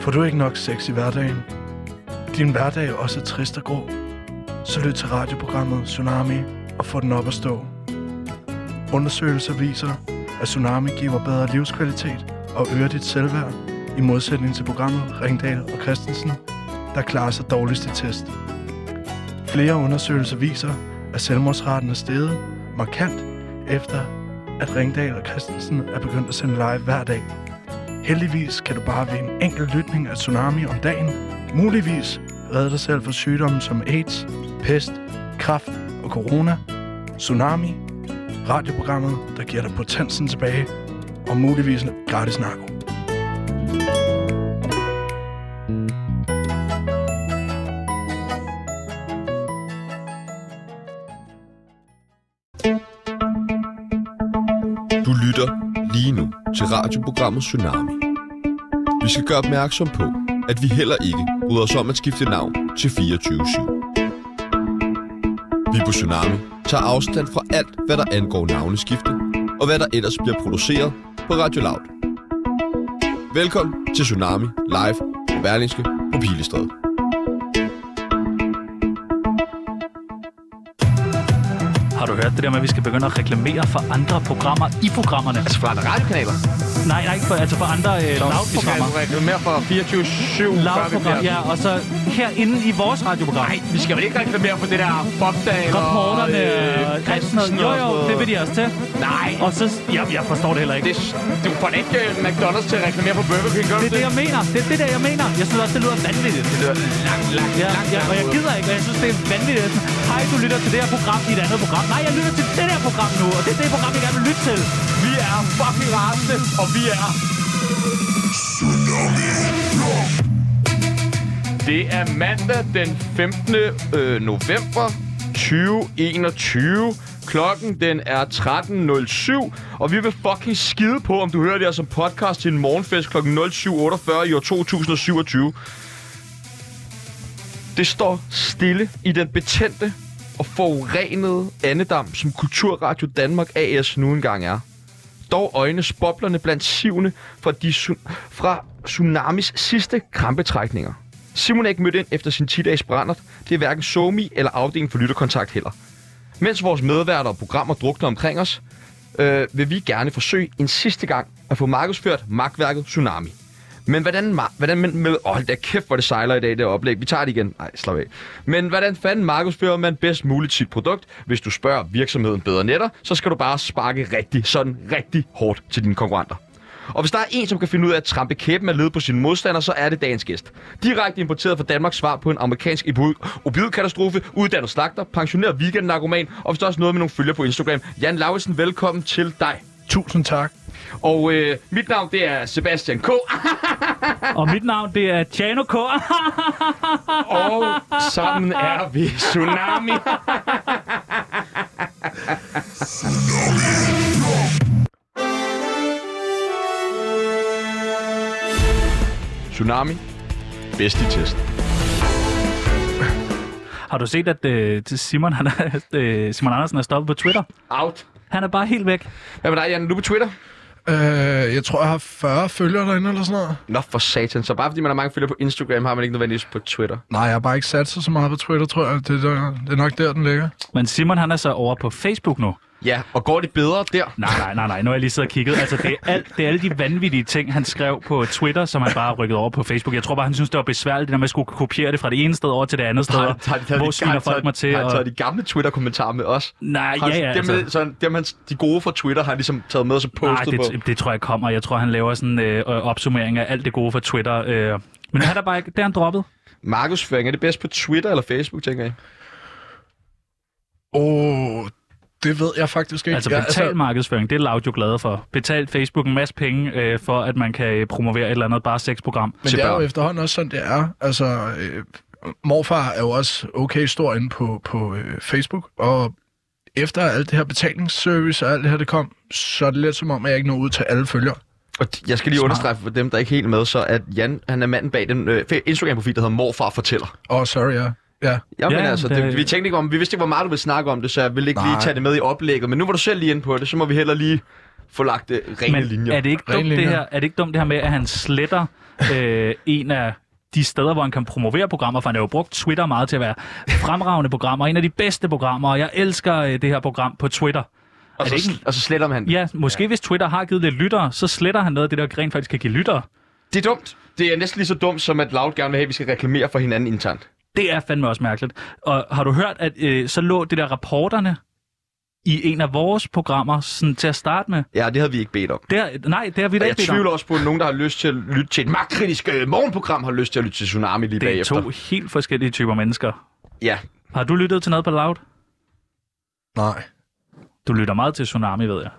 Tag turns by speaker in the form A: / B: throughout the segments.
A: Får du ikke nok sex i hverdagen? Din hverdag er også trist og grå. Så lyt til radioprogrammet Tsunami og få den op at stå. Undersøgelser viser, at Tsunami giver bedre livskvalitet og øger dit selvværd, i modsætning til programmet Ringdal og Christensen, der klarer sig dårligst i test. Flere undersøgelser viser, at selvmordsraten er steget markant efter, at Ringdal og Christensen er begyndt at sende live hver dag. Heldigvis kan du bare ved en enkelt lytning af Tsunami om dagen, muligvis redde dig selv fra sygdomme som AIDS, pest, kræft og corona. Tsunami, radioprogrammet, der giver dig potensen tilbage, og muligvis en gratis narko.
B: Du lytter lige nu til radioprogrammet Tsunami. Vi skal gøre opmærksom på, at vi heller ikke bryder os om at skifte navn til 24-7. Vi på Tsunami tager afstand fra alt, hvad der angår navneskifte, og hvad der ellers bliver produceret på Radio Loud. Velkommen til Tsunami Live på Berlingske på Pilestræde.
C: Har du hørt det der med, at vi skal begynde at reklamere for andre programmer i programmerne? Altså,
D: Altså for andre radiokanaler.
C: nej, nej, for, altså for andre øh,
D: Vi skal
C: loud-programmer.
D: reklamere for 24-7. før vi bliver-
C: Loud-program, ja, og så herinde i vores radioprogram.
D: Nej, vi skal vel ikke reklamere for det der Bobdag eller...
C: Rapporterne
D: øh,
C: og alt sådan
D: Christensen
C: noget. Jo,
D: og
C: jo,
D: sådan
C: det
D: noget.
C: vil de også til.
D: Nej,
C: Og så... Ja, jeg forstår det heller ikke.
D: det,
C: Det,
D: er- du får da ikke øh, McDonald's til at reklamere for Burger King, gør
C: det
D: du
C: er det, jeg mener. Det er det der, jeg mener. Jeg synes også, det lyder vanvittigt.
D: Det er langt, langt,
C: Ja,
D: langt,
C: ja, og jeg gider ikke, og jeg synes, det er vanvittigt. at sådan, Hej, du lytter til det her program i et andet program. Nej, jeg lytter til det der program nu, og det er det program, jeg gerne vil lytte til.
D: Vi er fucking rasende, og vi er... Tsunami. Det er mandag den 15. Øh, november 2021. Klokken den er 13.07, og vi vil fucking skide på, om du hører det her som podcast til en morgenfest kl. 07.48 i år 2027. Det står stille i den betændte og forurenede andedam, som Kulturradio Danmark AS nu engang er dog øjne spoblerne blandt sivene fra, de su- fra tsunamis sidste krampetrækninger. Simon er ikke mødt ind efter sin 10-dages brændert. Det er hverken Somi eller afdelingen for lytterkontakt heller. Mens vores medværter og programmer drukner omkring os, øh, vil vi gerne forsøge en sidste gang at få markedsført magtværket Tsunami. Men hvordan, ma- hvordan men, med, åh, hold da kæft, hvor det sejler i dag, det her oplæg. Vi tager det igen. Nej, slap af. Men hvordan fanden markedsfører man bedst muligt sit produkt? Hvis du spørger virksomheden bedre netter, så skal du bare sparke rigtig, sådan rigtig hårdt til dine konkurrenter. Og hvis der er en, som kan finde ud af at trampe kæppen af led på sine modstander, så er det dagens gæst. Direkte importeret fra Danmarks svar på en amerikansk obidkatastrofe, uddannet slagter, pensioneret weekendnarkoman, og hvis der er også noget med nogle følger på Instagram. Jan Lauritsen, velkommen til dig.
A: Tusind tak.
D: Og øh, mit navn, det er Sebastian K.
C: Og mit navn, det er Tjano K.
D: Og sammen er vi Tsunami. Tsunami. Bedst i test.
C: Har du set, at øh, til Simon, han er, øh, Simon Andersen er stoppet på Twitter?
D: Out.
C: Han er bare helt væk.
D: Hvad med dig, Jan? Er Du på Twitter?
A: Øh, jeg tror, jeg har 40 følgere derinde eller sådan noget.
D: Nå for satan. Så bare fordi man har mange følgere på Instagram, har man ikke nødvendigvis på Twitter.
A: Nej, jeg har bare ikke sat sig så meget på Twitter, tror jeg. Det er, der, det er nok der, den ligger.
C: Men Simon, han er så over på Facebook nu.
D: Ja, og går det bedre der?
C: Nej, nej, nej, nej. Nu har jeg lige siddet og kigget. Altså, det er, alt, det er alle de vanvittige ting, han skrev på Twitter, som han bare har rykket over på Facebook. Jeg tror bare, han synes, det var besværligt, når man skulle kopiere det fra det ene sted over til det andet sted.
D: Har, har,
C: og Hvor sviner folk mig til?
D: Har han
C: Og...
D: taget de gamle Twitter-kommentarer med os?
C: Nej,
D: Har
C: ja,
D: han-
C: ja.
D: dem,
C: Altså.
D: så dem, han, de gode fra Twitter har han ligesom taget med og så
C: Nej,
D: postet på.
C: det, det tror jeg kommer. Jeg tror, han laver sådan en øh, opsummering af alt det gode fra Twitter. Øh. Men han er bare ikke... Det er han droppet.
D: Markedsføring, er det bedst på Twitter eller Facebook, tænker jeg?
A: Åh, det ved jeg faktisk ikke.
C: Altså
A: Ja,
C: betalt markedsføring, det er Loud jo glade for. Betalt Facebook en masse penge øh, for, at man kan øh, promovere et eller andet bare sexprogram.
A: Men
D: til
A: det er jo
D: børn.
A: efterhånden også sådan, det er. Altså, øh, morfar er jo også okay stor inde på, på øh, Facebook, og efter alt det her betalingsservice og alt det her, det kom, så er det lidt som om, at jeg ikke når ud til alle følgere.
D: Og d- jeg skal lige
C: Smart.
D: understrege for dem, der ikke er helt med, så at Jan, han er manden bag den øh, fe- Instagram-profil, der hedder Morfar Fortæller.
A: Åh, oh, sorry, ja. Ja.
D: Jamen
C: Ja,
D: ja, altså, det,
C: det-
D: vi tænkte ikke om, vi vidste ikke, hvor meget du ville snakke om det, så jeg ville ikke Nej. lige
A: Nej.
D: tage det med i oplægget. Men nu var du selv lige inde på det, så må vi heller lige få lagt det rene
C: Men
D: linjer.
C: er det, ikke dumt,
A: Rene
C: det
A: linjer.
C: her, er det ikke dumt det her med, at han sletter øh, en af de steder, hvor han kan promovere programmer, for han har jo brugt Twitter meget til at være fremragende programmer, en af de bedste programmer, og jeg elsker øh, det her program på Twitter.
D: og,
C: er
D: så,
C: det ikke-
D: og så sletter man det.
C: Ja, måske ja. hvis Twitter har givet lidt lyttere, så sletter han noget af det, der rent faktisk kan give lyttere.
D: Det er dumt. Det er næsten lige så dumt, som at Loud gerne vil have, at vi skal reklamere for hinanden internt.
C: Det er fandme også mærkeligt. Og har du hørt, at øh, så lå det der rapporterne i en af vores programmer sådan, til at starte med?
D: Ja, det havde vi ikke bedt om.
C: Der, nej, det har vi da ikke
D: Og jeg
C: bedt om.
D: tvivler også på, at nogen, der har lyst til at lytte til et magtkritisk øh, morgenprogram, har lyst til at lytte til Tsunami lige
C: Det er
D: bagefter.
C: to helt forskellige typer mennesker.
D: Ja,
C: Har du lyttet til noget på Loud?
A: Nej.
C: Du lytter meget til Tsunami, ved jeg.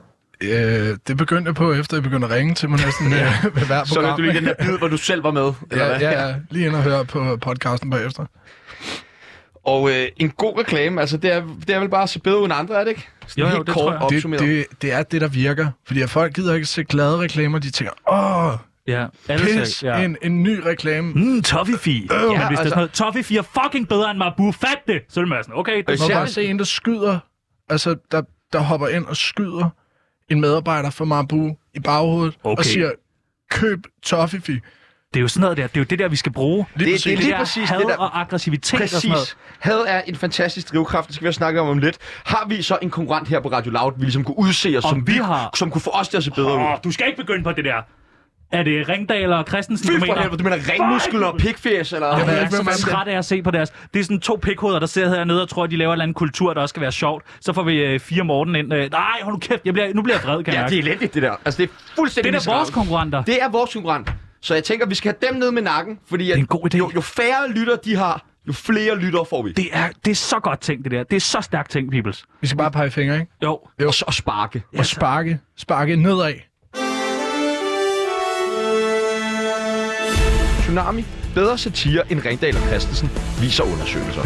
A: Øh, det begyndte jeg på, efter jeg begyndte at ringe til mig næsten ja. ved hver program.
D: så hørte du lige den der bid, hvor du selv var med. Eller
A: Ja,
D: hvad?
A: ja, ja, lige ind og høre på podcasten bagefter.
D: Og øh, en god reklame, altså det er, det er vel bare at se bedre ud end andre, er det ikke? Sådan
C: Jo, jo,
D: helt
C: det
D: kort
C: tror jeg.
A: Det,
D: opsummeret.
A: det, det er det, der virker. Fordi at folk gider ikke se glade reklamer. De tænker, åh,
C: Ja, alle
A: pis,
C: ser- ja.
A: en, en ny reklame.
C: Mm, Toffifee. Ja, Men hvis det er
D: altså-
C: sådan noget, Toffifee er fucking bedre end Mabu, fat det! Så er det sådan, okay, det,
D: Og
A: Man må
D: især
A: bare
D: hvis-
A: se en, der skyder. Altså, der, der hopper ind og skyder en medarbejder fra Mabu i baghovedet okay.
C: Okay.
A: og siger, køb Toffifee.
C: det er jo sådan noget der, det er jo det der, vi skal bruge.
A: Lige
D: Det-
A: det, præcis. Det,
D: det er
C: det
A: det,
C: der
D: præcis
C: had
D: det der-
C: og aggressivitet og sådan noget.
D: Præcis. Had er en fantastisk drivkraft, det skal vi også snakke om om lidt. Har vi så en konkurrent her på Radio Loud, vi ligesom kunne udse os,
C: Om
D: som,
C: vi
D: vi,
C: har-
D: som kunne få os til at se bedre ud?
C: Åh, du skal ikke begynde på det der. Er det Ringdal og Christensen,
D: Fy
C: du
D: for
C: mener?
D: helvede, du mener ringmuskler og pikfjes, eller?
A: Jeg ved
C: Jeg er
A: ikke, hvem er
C: så
A: det?
C: træt af at se på deres... Det er sådan to pikhoveder, der sidder hernede og tror, at de laver en eller anden kultur, der også skal være sjovt. Så får vi øh, fire Morten ind. Øh, nej, hold nu kæft, jeg bliver, nu bliver jeg vred, kan jeg
D: Ja,
C: mærke.
D: det er elendigt, det der. Altså, det er fuldstændig
C: Det er da vores
D: miserabelt.
C: konkurrenter.
D: Det er vores konkurrent. Så jeg tænker, vi skal have dem ned med nakken, fordi at
C: en god idé.
D: Jo, jo færre lytter de har, jo flere lytter får vi.
C: Det er, det er så godt tænkt, det der. Det er så stærkt tænkt, peoples.
A: vi skal bare pege fingre, ikke?
C: Jo.
D: jo. Og, så- og sparke.
A: Og sparke. Sparke nedad.
D: Tsunami, bedre satire end Ringdal og Christensen, viser undersøgelser.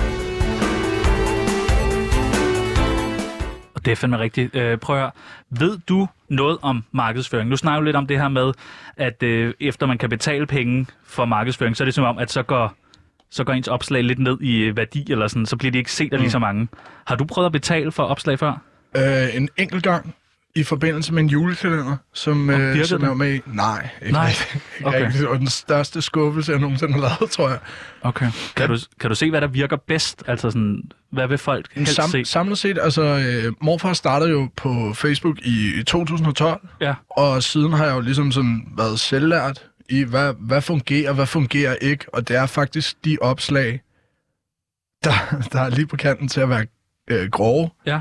C: Og det er fandme rigtigt. Øh, prøv at høre. Ved du noget om markedsføring? Nu snakker vi lidt om det her med, at øh, efter man kan betale penge for markedsføring, så er det som om, at så går, så går ens opslag lidt ned i øh, værdi, eller sådan, så bliver de ikke set af lige så mange. Har du prøvet at betale for opslag før?
A: Øh, en enkelt gang i forbindelse med en julekalender, som, øh,
C: virkede
A: som
C: den?
A: jeg var med i. Nej, ikke
C: Nej.
A: rigtigt. Ikke
C: Okay.
A: rigtigt. Det var den største skuffelse, jeg nogensinde har lavet, tror jeg.
C: Okay. Kan, du, kan du se, hvad der virker bedst? Altså sådan, hvad vil folk helst
A: Sam,
C: se?
A: samlet set, altså øh, morfar startede jo på Facebook i 2012,
C: Ja.
A: og siden har jeg jo ligesom sådan været selvlært i, hvad, hvad fungerer, hvad fungerer ikke, og det er faktisk de opslag, der, der er lige på kanten til at være øh, grove,
C: Ja.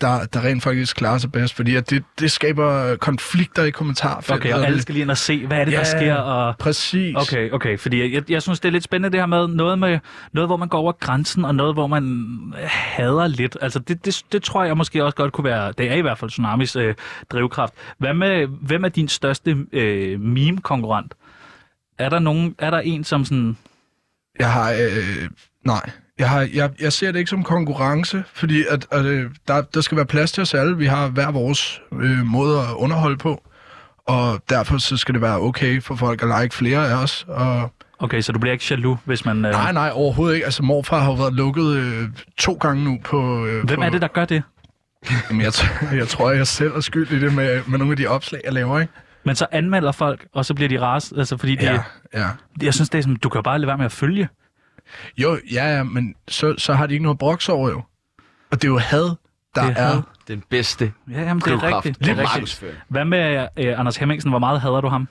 A: der, der rent faktisk klarer sig bedst, fordi at det, det skaber konflikter i kommentarfeltet.
C: Okay, og alle skal lige ind og se, hvad er det, der
A: Ja.
C: sker, og...
A: Præcis.
C: Okay, okay, fordi jeg, jeg synes, det er lidt spændende det her med noget, med noget, hvor man går over grænsen, og noget, hvor man øh, hader lidt. Altså, det, det, det tror jeg måske også godt kunne være, det er i hvert fald Tsunamis øh, drivkraft. Hvad med, hvem er din største øh, meme-konkurrent? Er der, nogen, er der en, som sådan...
A: Jeg har... Øh, nej. Jeg, har, jeg, jeg ser det ikke som konkurrence, fordi at, at, øh, der, der skal være plads til os alle. Vi har hver vores øh, måde at underholde på, og derfor så skal det være okay for folk at like flere af os. Og,
C: Okay, så du bliver ikke jaloux, hvis man... Øh,
A: nej, nej, overhovedet ikke. Altså, morfar har jo været lukket øh, to gange nu på... Øh,
C: hvem
A: på,
C: er det, der gør det?
A: Jamen, jeg, t- jeg tror, jeg selv er skyld i det med, med nogle af de opslag, jeg laver, ikke?
C: Men så anmelder folk, og så bliver de ras, altså fordi de,
A: Ja,
C: ja.
A: ja.
C: jeg synes, det er som, du kan jo bare lade være med at følge.
A: Jo, ja, ja, men så, så har de ikke noget broks over, jo. Og det er jo had, der
C: Det er
A: er...
C: had.
D: Den bedste
C: Ja, jamen, det er
D: drivkraft.
C: rigtigt.
D: på
C: Det er rigtigt.
D: markedsføring.
C: Hvad med øh, Anders Hemmingsen? Hvor meget hader du ham?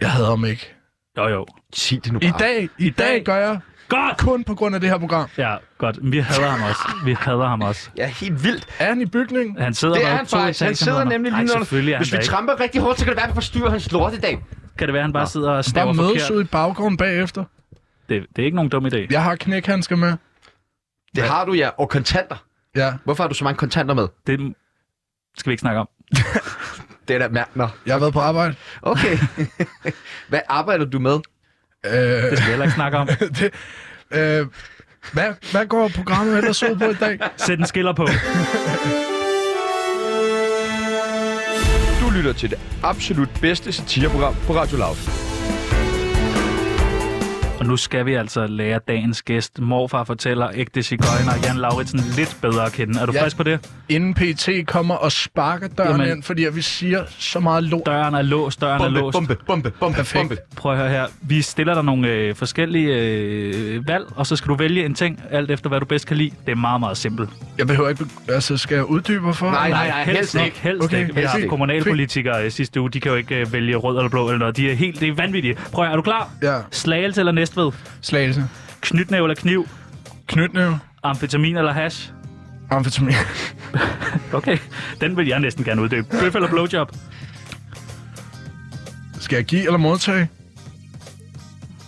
A: Jeg hader ham ikke.
C: Jo, jo.
D: Sig det nu bare.
A: I dag, i dag gør jeg
C: Godt!
A: kun på grund af det her program.
C: Ja, godt. Vi hader ham også. Vi hader ham også.
D: Ja, helt vildt.
A: Er han i bygningen?
C: Han sidder
D: Det er
C: bare
D: han
C: to
D: faktisk. Han
C: etager
D: sidder
C: nedenunder.
D: nemlig
C: Nej,
D: lige når...
C: selvfølgelig er han
D: Hvis
C: der
D: vi
C: ikke.
D: tramper rigtig hårdt, så kan det være, at vi forstyrrer hans lort i dag.
C: Kan det være, han bare sidder og
A: Der
C: staver
A: mødes
C: forkert?
A: ud i baggrunden bagefter.
C: Det, det er ikke nogen dum idé.
A: Jeg har knækhandsker med.
D: Det har du, ja. Og kontanter.
A: Ja,
D: Hvorfor har du så mange kontanter med?
C: Det skal vi ikke snakke om.
D: Det er da mærkeligt. Nå.
A: jeg har været på arbejde.
D: Okay. Hvad arbejder du med?
A: Øh,
C: Det skal vi heller ikke snakke om.
A: det, øh, hvad, hvad går programmet ellers ud på i dag?
C: Sæt en skiller på.
D: Du lytter til det absolut bedste satireprogram på Radio Loud.
C: Og Og nu skal vi altså lære dagens gæst. Morfar fortæller ægte cigøjner Jan Lauritsen lidt bedre at kende. Er du
A: Ja.
C: ja. frisk på det?
A: Inden PT kommer og sparker døren
C: Jamen.
A: Jamen. ind, fordi at vi siger så meget lort.
C: Døren er låst, døren er låst.
D: bombe, bombe, bombe,
A: Perfekt.
C: Prøv at høre her. Vi stiller dig nogle øh, forskellige øh, valg, og så skal du vælge en ting, alt efter hvad du bedst kan lide. Det er meget, meget simpelt.
A: Jeg behøver ikke... be- Altså, skal jeg uddybe hvorfor?
D: Nej, nej, nej, helst
C: nok,
D: ikke.
C: Helst
A: Okay,
C: okay, ikke. Vi
A: helst
C: har
A: ikke.
C: kommunalpolitikere øh, sidste uge. De kan jo ikke øh, vælge rød eller blå eller noget. De er helt det er vanvittige. Prøv at høre, er du klar?
A: Ja.
C: Slagelse eller næstved?
A: Slagelse.
C: Knytnæve eller kniv?
A: Knytnæve.
C: Amfetamin eller hash?
A: Amfetamin.
C: Okay, den vil jeg næsten gerne uddybe. Bøf eller blowjob?
A: Skal jeg give eller modtage?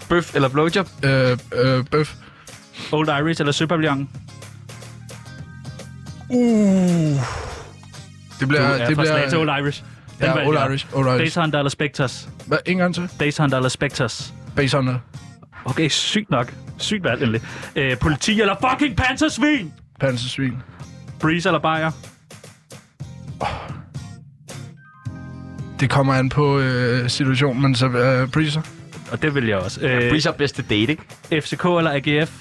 D: Bøf eller blowjob?
A: Øh, øh, bøf.
C: Old Irish eller søpavillon?
A: Uh. Det
C: Du
A: bliver...
C: er
A: det
C: Uh, fra
A: bliver,
C: Slagelse Old Irish. Den
A: Ja,
C: valgte
A: Old
C: jeg.
A: Irish. Old Irish.
C: Days Hunter eller Spectres?
A: Hvad? En gang til?
C: Days Hunter eller Spectres?
A: Base Hunter.
C: Okay, sygt nok. Sygt valgt endelig. Øh, politi eller fucking pansersvin?
A: Pansersvin.
C: Breeze eller Bayer?
A: Det kommer an på øh, situationen, men så... Øh, Breezer.
C: Og det vil jeg også. Øh,
D: Breeze er bedste date, ikke?
C: FCK eller AGF?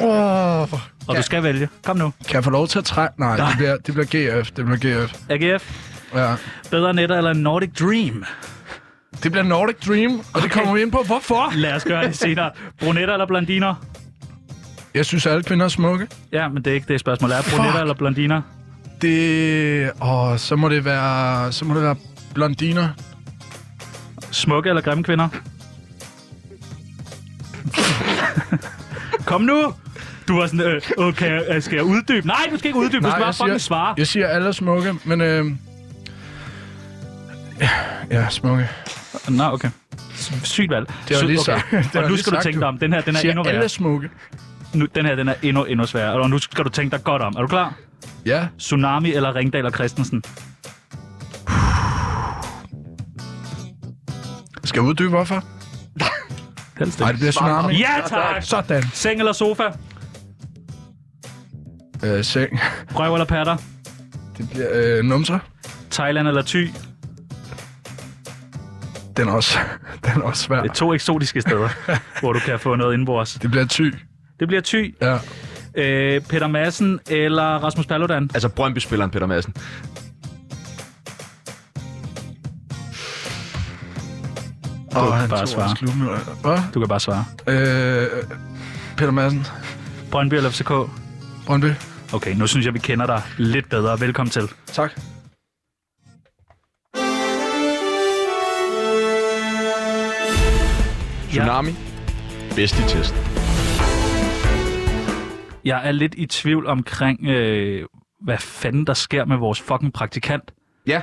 A: Oh.
C: Og ja. du skal vælge. Kom nu.
A: Kan jeg få lov til at trække? Nej, Det, bliver, det bliver GF. Det bliver GF.
C: AGF,
A: Ja.
C: bedre netter eller Nordic Dream?
A: Det bliver Nordic Dream, og okay. det kommer vi ind på. Hvorfor?
C: Lad os gøre det senere. Brunetter eller blondiner?
A: Jeg synes, alle kvinder er smukke.
C: Ja, men det er ikke det spørgsmål. Er brunetter eller blondiner?
A: Det... Åh, så må det være... Så må det være blondiner.
C: Smukke eller grimme kvinder? Kom nu! Du var sådan, øh, okay, øh, skal jeg uddybe? Nej, du skal ikke uddybe, du skal bare
A: jeg
C: fucking svare.
A: Jeg siger, alle er smukke, men... Øh, ja, smukke.
C: Nå, okay. S- Sygt valg.
A: Det var
C: Sy-
A: lige
C: okay.
A: sagt. Det var
C: Og nu
A: lige
C: skal du
A: sagt,
C: tænke
A: du.
C: dig om. Den her, den
A: Den
C: er
A: siger,
C: endnu
A: alle
C: værre.
A: er smukke.
C: Nu, den her, den er endnu, endnu sværere. Og nu skal du tænke dig godt om. Er du klar?
A: Ja,
C: Tsunami eller Ringdal og Christensen?
A: skal jeg uddybe hvorfor?
C: Helst
A: Nej, det bliver tsunami.
C: Ja, tak!
A: Sådan.
C: Seng eller sofa?
A: Øh, seng.
C: Røv eller patter?
A: Det bliver øh, numser.
C: Thailand eller Thy?
A: Den er også, den er også svær.
C: Det er to eksotiske steder, hvor du kan få noget indbords.
A: Det bliver ty.
C: Det bliver Thy.
A: Ja.
C: Øh, Peter Madsen eller Rasmus Paludan?
D: Altså Brøndby-spilleren Peter Madsen.
A: Og han
C: bare
A: tog
C: svare.
A: også klubben. Hvad?
C: Du kan bare svare.
A: Øh, Peter Madsen.
C: Brøndby eller FCK?
A: Brøndby.
C: Okay, nu synes jeg, vi kender dig lidt bedre. Velkommen til.
A: Tak.
D: Tsunami. Bedst i test.
C: Jeg er lidt i tvivl omkring, øh, hvad fanden der sker med vores fucking praktikant.
D: Ja.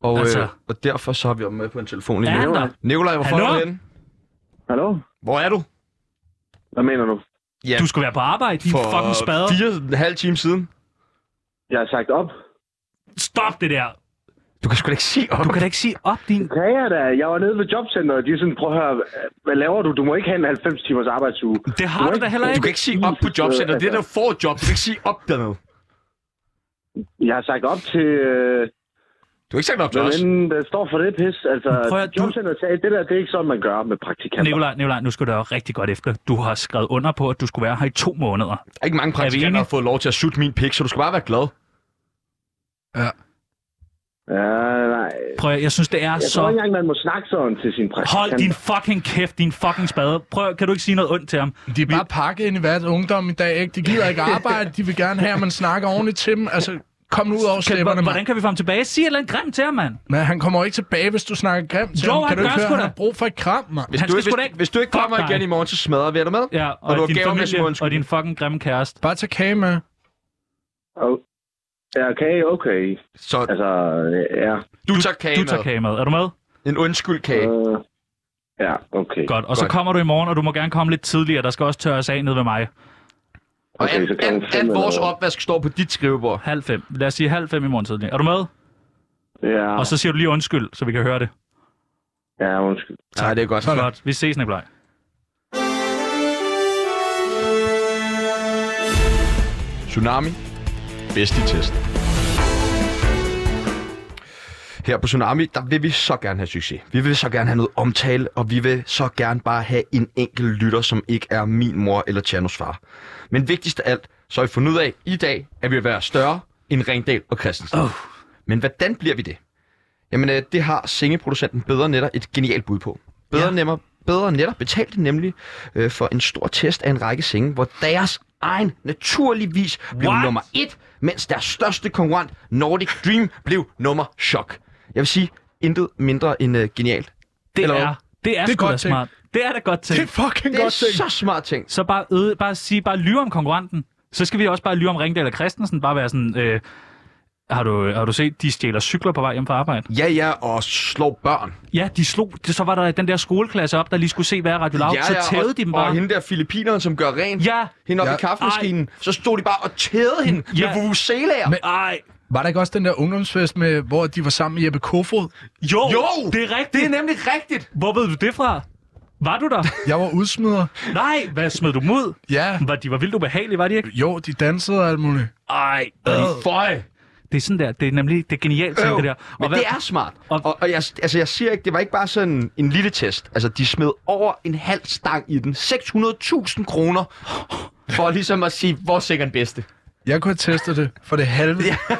D: Og,
C: Altså.
D: altså. øh, og derfor så har vi ham med på en telefon
C: Er
D: lige
C: han
D: nu.
C: der?
D: Nikolaj, hvor
C: Hallo?
D: er du henne?
E: Hallo?
D: Hvor er du?
E: Hvad mener du?
D: Ja,
C: Du skulle være på arbejde, din
D: for
C: fucking spade.
D: fire og en halv time siden.
E: Jeg har sagt op.
C: Stop det der.
D: Du kan sgu da ikke sige op.
C: Du kan da ikke sige op, din...
E: Kan jeg da? Jeg var nede ved jobcenteret, og de er sådan, prøv at høre, hvad laver du? Du må ikke have en 90 timers arbejdsuge.
C: Det har du da heller
D: Du
C: ikke.
D: kan ikke sige op på jobcenter. Det er der du får et job. Du kan ikke sige op dernede.
E: Jeg har sagt op til øh,
D: Du har ikke sagt op til
E: hvem
D: os.
E: end der står for det pis. Altså,
C: Prøv at- du-
E: jobcenteret sagde, det der, det er ikke sådan, man gør med praktikanter.
C: Nikolaj, Nikolaj, nu skal du høre rigtig godt efter. Du har skrevet under på, at du skulle være her i to måneder.
D: Der er ikke mange praktikanter, der
C: enige?
D: har fået lov til at sutte min pik, så du skal bare være glad.
E: Ja, nej.
C: Prøv at, jeg synes, det er
E: Jeg
C: så...
E: tror ikke engang, man må snakke sådan til sin praktikant.
C: Hold din fucking kæft, din fucking spade. Prøv, at- kan du ikke sige noget ondt til ham?
A: De er bare pakket ind i hvert ungdom i dag, ikke? De gider ikke arbejde, de vil gerne have, at man snakker ordentligt til dem. Altså, kom nu ud over
C: Kan,
A: slæberne,
C: hvordan,
A: mand.
C: hvordan kan vi få ham tilbage? Sig et eller andet grimt til ham, mand.
A: Men han kommer jo ikke tilbage, hvis du snakker grimt til
C: Jo,
A: ham.
C: han
A: Kan du
C: gør
A: ikke høre,
C: sgu
A: han
C: da.
A: har brug for et kram, mand?
D: Hvis
C: Han
D: du,
C: skal sgu
D: hvis,
C: da ikke-
D: hvis du ikke
C: Fuck
D: kommer
C: dig.
D: igen i morgen, så smadrer vi dig med.
C: Ja, og,
D: du har
C: din
D: gaver med som
C: familie
D: undskyld.
C: og din fucking grimme kæreste.
A: Bare tag kage med.
E: Oh. Ja, okay, okay.
D: Så
E: Altså, ja.
D: du tager kage
C: Du tager
D: med.
C: kage med. Er du med?
D: En undskyld kage.
E: Øh, ja, okay.
C: Godt. Og så
D: Godt.
C: kommer du i morgen, og du må gerne komme lidt tidligere. Der skal også tørres af ned ved mig.
D: Og
E: Okay,
D: al,
E: så kan
D: al,
E: man
D: al
E: fandme
D: vores
E: noget.
D: opvask står på dit skrivebord.
C: Halv fem. Lad os sige halv fem i morgen tidlig. Er du med?
E: Ja,
C: Og så siger du lige undskyld, så vi kan høre det.
E: ja undskyld.
D: Nej, det er godt.
C: Godt. Vi ses, Nikolaj.
D: Tsunami. Bedst i test. Her på Tsunami, der vil vi så gerne have succes. Vi vil så gerne have noget omtale, og vi vil så gerne bare have en enkelt lytter, som ikke er min mor eller Tjernos far. Men vigtigst af alt, så har vi fundet ud af i dag, at vi vil være større end Ringdal og Christensen.
C: Oh.
D: Men hvordan bliver vi det? Jamen, øh, det har sengeproducenten Bedre Netter et genialt bud på. Bedre,
C: Ja.
D: ja. nemmer, bedre Netter betalte nemlig øh, for en stor test af en række senge, hvor deres egen naturligvis blev
C: What?
D: What? nummer et, mens deres største konkurrent, Nordic Dream, blev nummer chok. Jeg vil sige, intet mindre end øh, genialt.
C: Det
D: Eller hvad?
C: er, det er,
A: Det
C: det
A: er
C: er sgu da
A: godt tænkt.
C: smart. Det er da godt
A: Det er
C: tænkt.
A: fucking
D: Det er
A: godt ting.
D: så smart ting.
C: Så bare, øde, bare sige, bare lyve om konkurrenten. Så skal vi også bare lyve om Ringdal og Christensen. Bare være sådan, øh, har, du, har du set, de stjæler cykler på vej hjem fra arbejde?
D: Ja, ja, og slå børn.
C: Ja, de slog. det- Så var der den der skoleklasse op, der lige skulle se, hvad er Radio Loud.
D: ja,
C: så
D: ja,
C: tævede
D: og,
C: de dem bare.
D: Og hende der filipineren, som gør rent.
C: Ja.
D: Hende op
A: Ja.
D: i kaffemaskinen. Så stod de bare og tævede hende
C: Ja.
D: med vuvuzelaer.
A: Men-
C: Ej.
A: Var der ikke også den der ungdomsfest, med, hvor de var sammen med Jeppe Kofod?
C: Jo,
D: Jo!
C: det er rigtigt.
D: Det er nemlig rigtigt.
C: Hvor ved du det fra? Var du der?
A: Jeg var udsmider.
C: Nej, hvad smed du dem ud?
A: Ja.
C: Var, de var vildt ubehagelige, var de ikke?
A: Jo, de dansede og alt muligt.
C: Ej, øh.
D: Føj.
C: det er sådan der, det er nemlig, det er genialt tænkt, det der.
D: Men det er smart.
C: og-
D: Og, og jeg, altså, jeg siger ikke, det var ikke bare sådan en lille test. Altså, de smed over en halv stang i den. 600.000 kroner for ligesom at sige, hvor er sikkert den bedste.
A: Jeg kunne have testet det for det halve. Ja.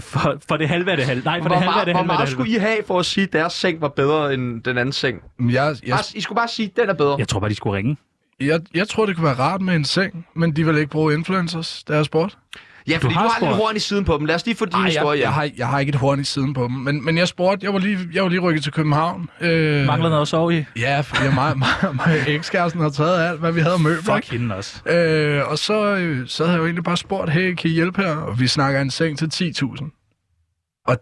C: for, for det halve af det halve. Nej, for
D: Hvor,
C: det halve af
D: meget,
C: det
D: hvor
C: halve af det
D: meget
C: halve.
D: skulle I have for at sige, at deres seng var bedre end den anden seng?
A: Jeg, jeg,
D: Bare, I skulle bare sige, at den er bedre.
C: Jeg tror bare, de skulle ringe.
A: jeg, jeg tror, det kunne være rart med en seng, men de vil ikke bruge influencers, deres sport.
D: Ja, fordi
C: har
D: du har, lidt
C: spurgt.
D: horn i siden på dem. Lad os lige få din
A: Ej, jeg,
D: historie.
A: jeg,
D: hjem.
A: har, jeg har ikke et horn i siden på dem, men, men jeg spurgte, jeg var lige, jeg var lige rykket til København. Øh,
C: Mangler noget at sove i?
A: Ja, for jeg, mig, mig, mig ekskæresten har taget alt, hvad vi havde af møbler.
C: Fuck hende også.
A: Øh, og så, øh, så havde jeg jo egentlig bare spurgt, hey, kan I hjælpe her? Og vi snakker en seng til 10.000. Og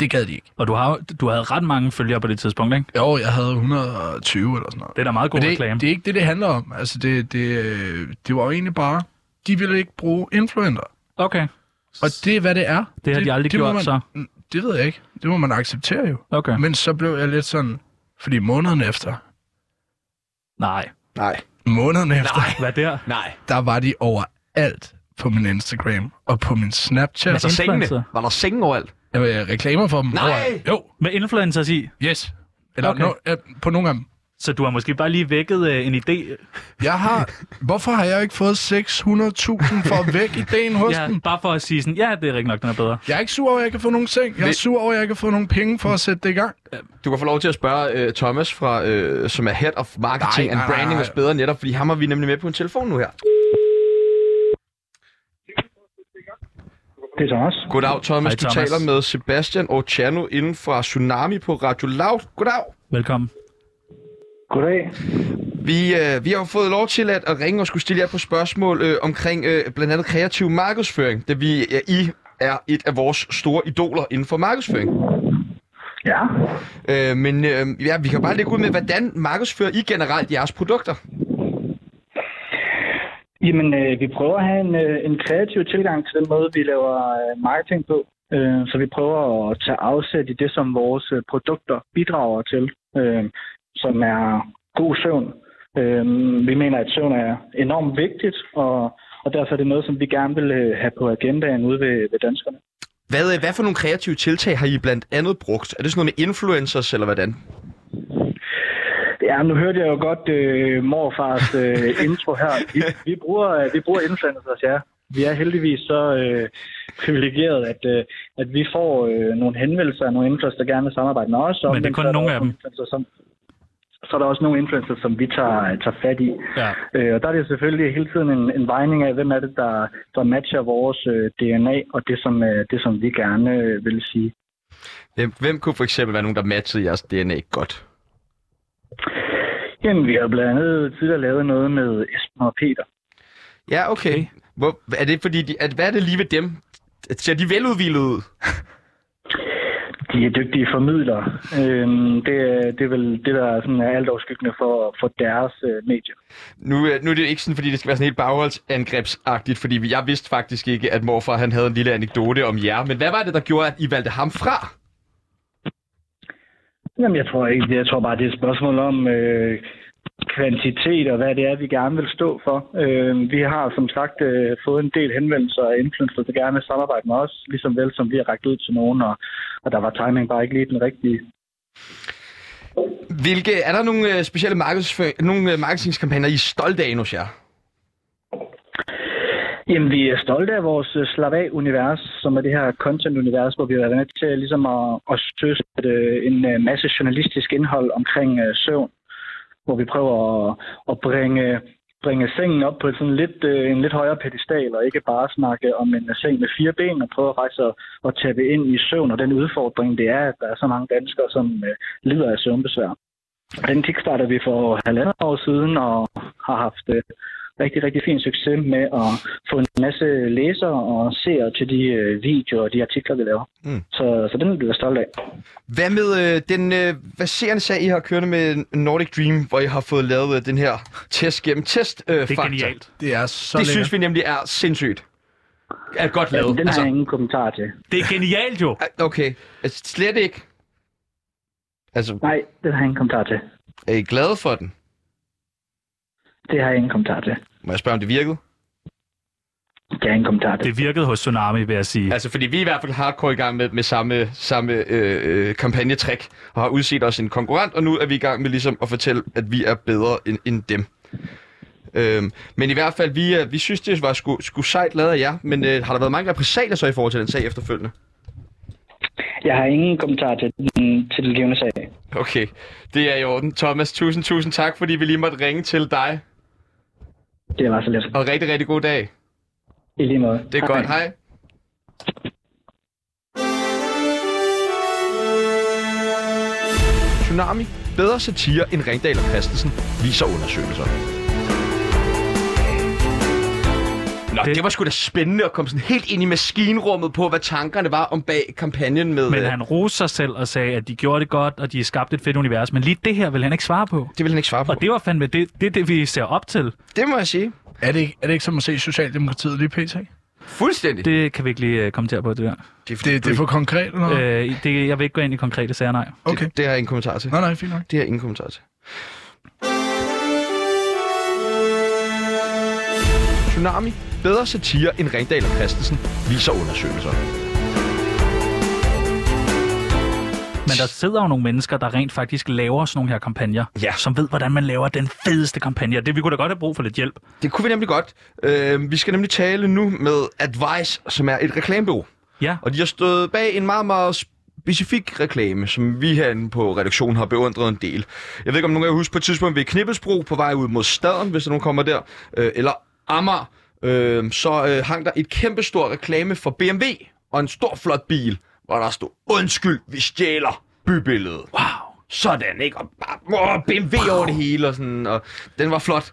A: det gad de ikke.
C: Og du, har, du havde ret mange følgere på det tidspunkt, ikke?
A: Jo, jeg havde 120 eller sådan noget.
C: Det er da meget god
A: Men det,
C: reklame.
A: det er ikke det, det handler om. Altså, det, det, øh, det var jo egentlig bare, de ville ikke bruge influenter.
C: Okay,
A: Og det er, hvad det er.
C: det har de aldrig
A: må
C: gjort,
A: man, Mm,
C: så.
A: Det ved jeg ikke. Det må man acceptere jo.
C: Okay.
A: Men så blev jeg lidt sådan, fordi måneden efter,
C: Nej.
D: Nej.
A: måneden efter, Nej.
C: Hvad der?
D: Nej.
A: der var de overalt på min Instagram og på min Snapchat.
C: Men
D: Så
A: Altså,
D: sengene.
C: influencer.
D: Var der senge overalt?
A: jeg var reklamer for dem.
D: Nej!
A: overalt. Jo,
C: Med influencers i.
A: yes. Eller
C: Okay.
A: okay. no, øh, på nogle af dem.
C: Så du har måske bare lige vækket øh, en idé.
A: Jeg har, hvorfor har jeg ikke fået 600.000 for at vække ideen hos
C: Ja,
A: dem?
C: bare for at sige sådan, ja, det er rigtig nok, den er bedre.
A: Jeg er ikke sur over, at jeg ikke har fået nogen seng. Jeg er
D: Vil-
A: sur over, at jeg ikke har fået nogen penge for at sætte det i gang.
D: Du kan få lov til at spørge øh, Thomas, fra, øh, som er Head of Marketing
A: Nej,
D: nej, and
A: nej,
D: Branding
A: nej.
D: hos Bedre Netter, fordi ham har vi nemlig med på en telefon nu her.
E: Det er Thomas.
D: Goddag, Thomas.
C: Hej,
D: Hej, Thomas. Du
C: Thomas.
D: taler med Sebastian Orciano inden fra Tsunami på Radio Loud. Goddag.
C: Velkommen.
E: Goddag.
D: Vi, øh, vi har jo fået lov til at, at ringe og skulle stille jer på spørgsmål øh, omkring øh, blandt andet kreativ markedsføring, da vi, ja, I er et af vores store idoler inden for markedsføring.
E: Ja.
D: Øh, men øh, ja, vi kan bare lægge ud med, hvordan markedsfører I generelt jeres produkter?
E: Jamen, øh, vi prøver at have en, øh, en kreativ tilgang til den måde, vi laver øh, marketing på. Øh, så vi prøver at tage afsæt i det, som vores øh, produkter bidrager til, øh, som er god søvn. Øh, vi mener, at søvn er enormt vigtigt, og, og derfor er det noget, som vi gerne vil øh, have på agendaen ude ved, ved danskerne.
D: Hvad, øh, hvad for nogle kreative tiltag har I blandt andet brugt? Er det sådan noget med influencers, eller hvordan?
E: Ja, nu hørte jeg jo godt øh, morfars øh, intro her. Vi, vi bruger, øh, vi bruger influencers, ja. Vi er heldigvis så øh, privilegeret, at, øh, at vi får øh, nogle henvendelser af nogle influencers, der gerne vil samarbejde med os. og
C: Men det er
E: omvendt,
C: kun
E: så der
C: nogle
E: også
C: af dem.
E: influencers, Som, så er der også nogle influencers, som vi tager, tager fat i.
C: Ja.
E: Øh, og der er det jo selvfølgelig hele tiden en, en vejning af, hvem er det, der, der matcher vores øh, DNA og det som, øh, det, som vi gerne øh, vil sige.
D: Hvem, hvem kunne for eksempel være nogen, der matchede jeres DNA godt?
E: Jamen, vi har blandt andet tidligere lavet noget med Esben og Peter.
D: Ja, okay. okay. Hvor, er det fordi, de, at, hvad er det lige ved dem? Ser de veludvilede ud?
E: De er dygtige formidlere. Øhm, det, er- det er vel det, der er sådan er alt overskyggende for, for deres øh, medier.
D: Nu, øh, nu er det ikke sådan, fordi det skal være sådan helt bagholdsangrebsagtigt, fordi jeg vidste faktisk ikke, at morfar han havde en lille anekdote om jer. Men hvad var det, der gjorde, at I valgte ham fra?
E: Jamen, jeg tror ikke. Jeg tror bare, det er et spørgsmål om, øh, kvantitet og hvad det er, vi gerne vil stå for. Øh, vi har som sagt øh, fået en del henvendelser af influencer, der gerne vil samarbejde med os, ligesom vel som vi har rækket ud til nogen, og, og der var timing bare ikke lige den rigtige.
D: Hvilke, er der nogle øh, specielle markedsføring, nogle øh, marketingskampagner, I er stolte af hos jer?
E: Jamen, vi er stolte af vores øh, Slap Af-univers, som er det her content-univers, hvor vi har været med til ligesom at, at støtte øh, en øh, masse journalistisk indhold omkring øh, søvn, hvor vi prøver at, at bringe, bringe sengen op på sådan lidt, øh, en lidt højere pedestal, og ikke bare snakke om en seng med fire ben, og prøver faktisk at, at tabe ind i søvn, og den udfordring, det er, at der er så mange danskere, som øh, lider af søvnbesvær. Den kickstarter vi for halvandet år siden, og har haft øh, rigtig, rigtig fin succes med at få en masse læsere og seere til de øh, videoer og de artikler, vi laver.
D: Mm.
E: Mm. Så, så den er vi stolt af.
D: Hvad med øh, den øh, baserende sag, I har kørt med Nordic Dream, hvor I har fået lavet øh, den her test gennem test øh,
C: Det er genialt.
A: Det er så
D: Det
A: lækkert.
D: synes vi nemlig er sindssygt. Er godt
E: Ja,
D: lavet.
E: den har jeg ingen kommentar til.
C: Det er genialt jo.
D: Ah, Okay, altså, slet ikke. Altså,
E: Nej, den har jeg ingen kommentar til.
D: er I glade for den?
E: Det har jeg ingen kommentar til.
D: Må jeg spørge, om det virkede?
E: Det har jeg ingen kommentar til.
C: Det virkede hos Tsunami, vil jeg sige.
D: Altså, fordi vi er i hvert fald hardcore i gang med, med samme, samme øh, øh, kampagnetrik, og har udset os en konkurrent, og nu er vi i gang med ligesom at fortælle, at vi er bedre end, end dem. Øhm, men i hvert fald, vi, øh, vi synes, det var sgu, sgu sejt lavet af jer, men øh, har der været mange repræsalier så i forhold til den sag efterfølgende?
E: Jeg har ingen kommentar til den, til den givende sag.
D: Okay, det er i orden. Thomas, tusind, tusind tak, fordi vi lige måtte ringe til dig,
E: Det var så lidt.
D: og rigtig, rigtig god dag.
E: I lige måde.
D: Det er godt, hej. Tsunami. Bedre satire end Ringdal og Christensen, viser undersøgelser. Nå, det,
C: Det-
D: det var sgu da spændende at komme sådan helt ind i maskinrummet på, hvad tankerne var om bag kampagnen med...
C: Men
D: øh,
C: han roste sig selv og sagde, at de gjorde det godt, og de skabte et fedt univers. Men lige det her vil han ikke svare på.
D: Det vil han ikke svare på.
C: Og
D: Det,
C: det var fandme det, det, er det vi ser op til.
D: det må jeg sige.
A: Er det, ikke, er det ikke som at se Socialdemokratiet lige pt?
D: Fuldstændig. Det,
C: Det kan vi ikke lige øh, kommentere på, det der.
D: det,
A: Det, det er for konkret eller noget? Øh,
C: Øh, det, jeg vil ikke gå ind i konkrete sager, nej.
A: okay.
D: det, det har jeg ingen kommentar til.
A: Nej, nej, fint nok.
D: Det har jeg ingen kommentar til. Tsunami. Bedre satire end Ringdal og Christensen, viser undersøgelser.
C: Men der sidder jo nogle mennesker, der rent faktisk laver sådan nogle her kampagner.
D: Ja.
C: Som ved, hvordan man laver den fedeste kampagne. Og det vi kunne da godt have brug for lidt hjælp.
D: Det kunne vi nemlig godt. Øh, vi skal nemlig tale nu med Advice, som er et reklamebureau.
C: Ja.
D: Og de har stået bag en meget, meget specifik reklame, som vi herinde på redaktionen har beundret en del. Jeg ved ikke, om nogen af jer husker på et tidspunkt ved Knibbelsbro på vej ud mod staden, hvis der nogen kommer der, øh, eller Amager, øh, så øh, hang der et kæmpestor reklame for BMW og en stor flot bil, hvor der stod, undskyld, vi stjæler bybilledet.
C: Wow.
D: Sådan, ikke? Og bare, åh, BMW over det hele, og sådan, og den var flot.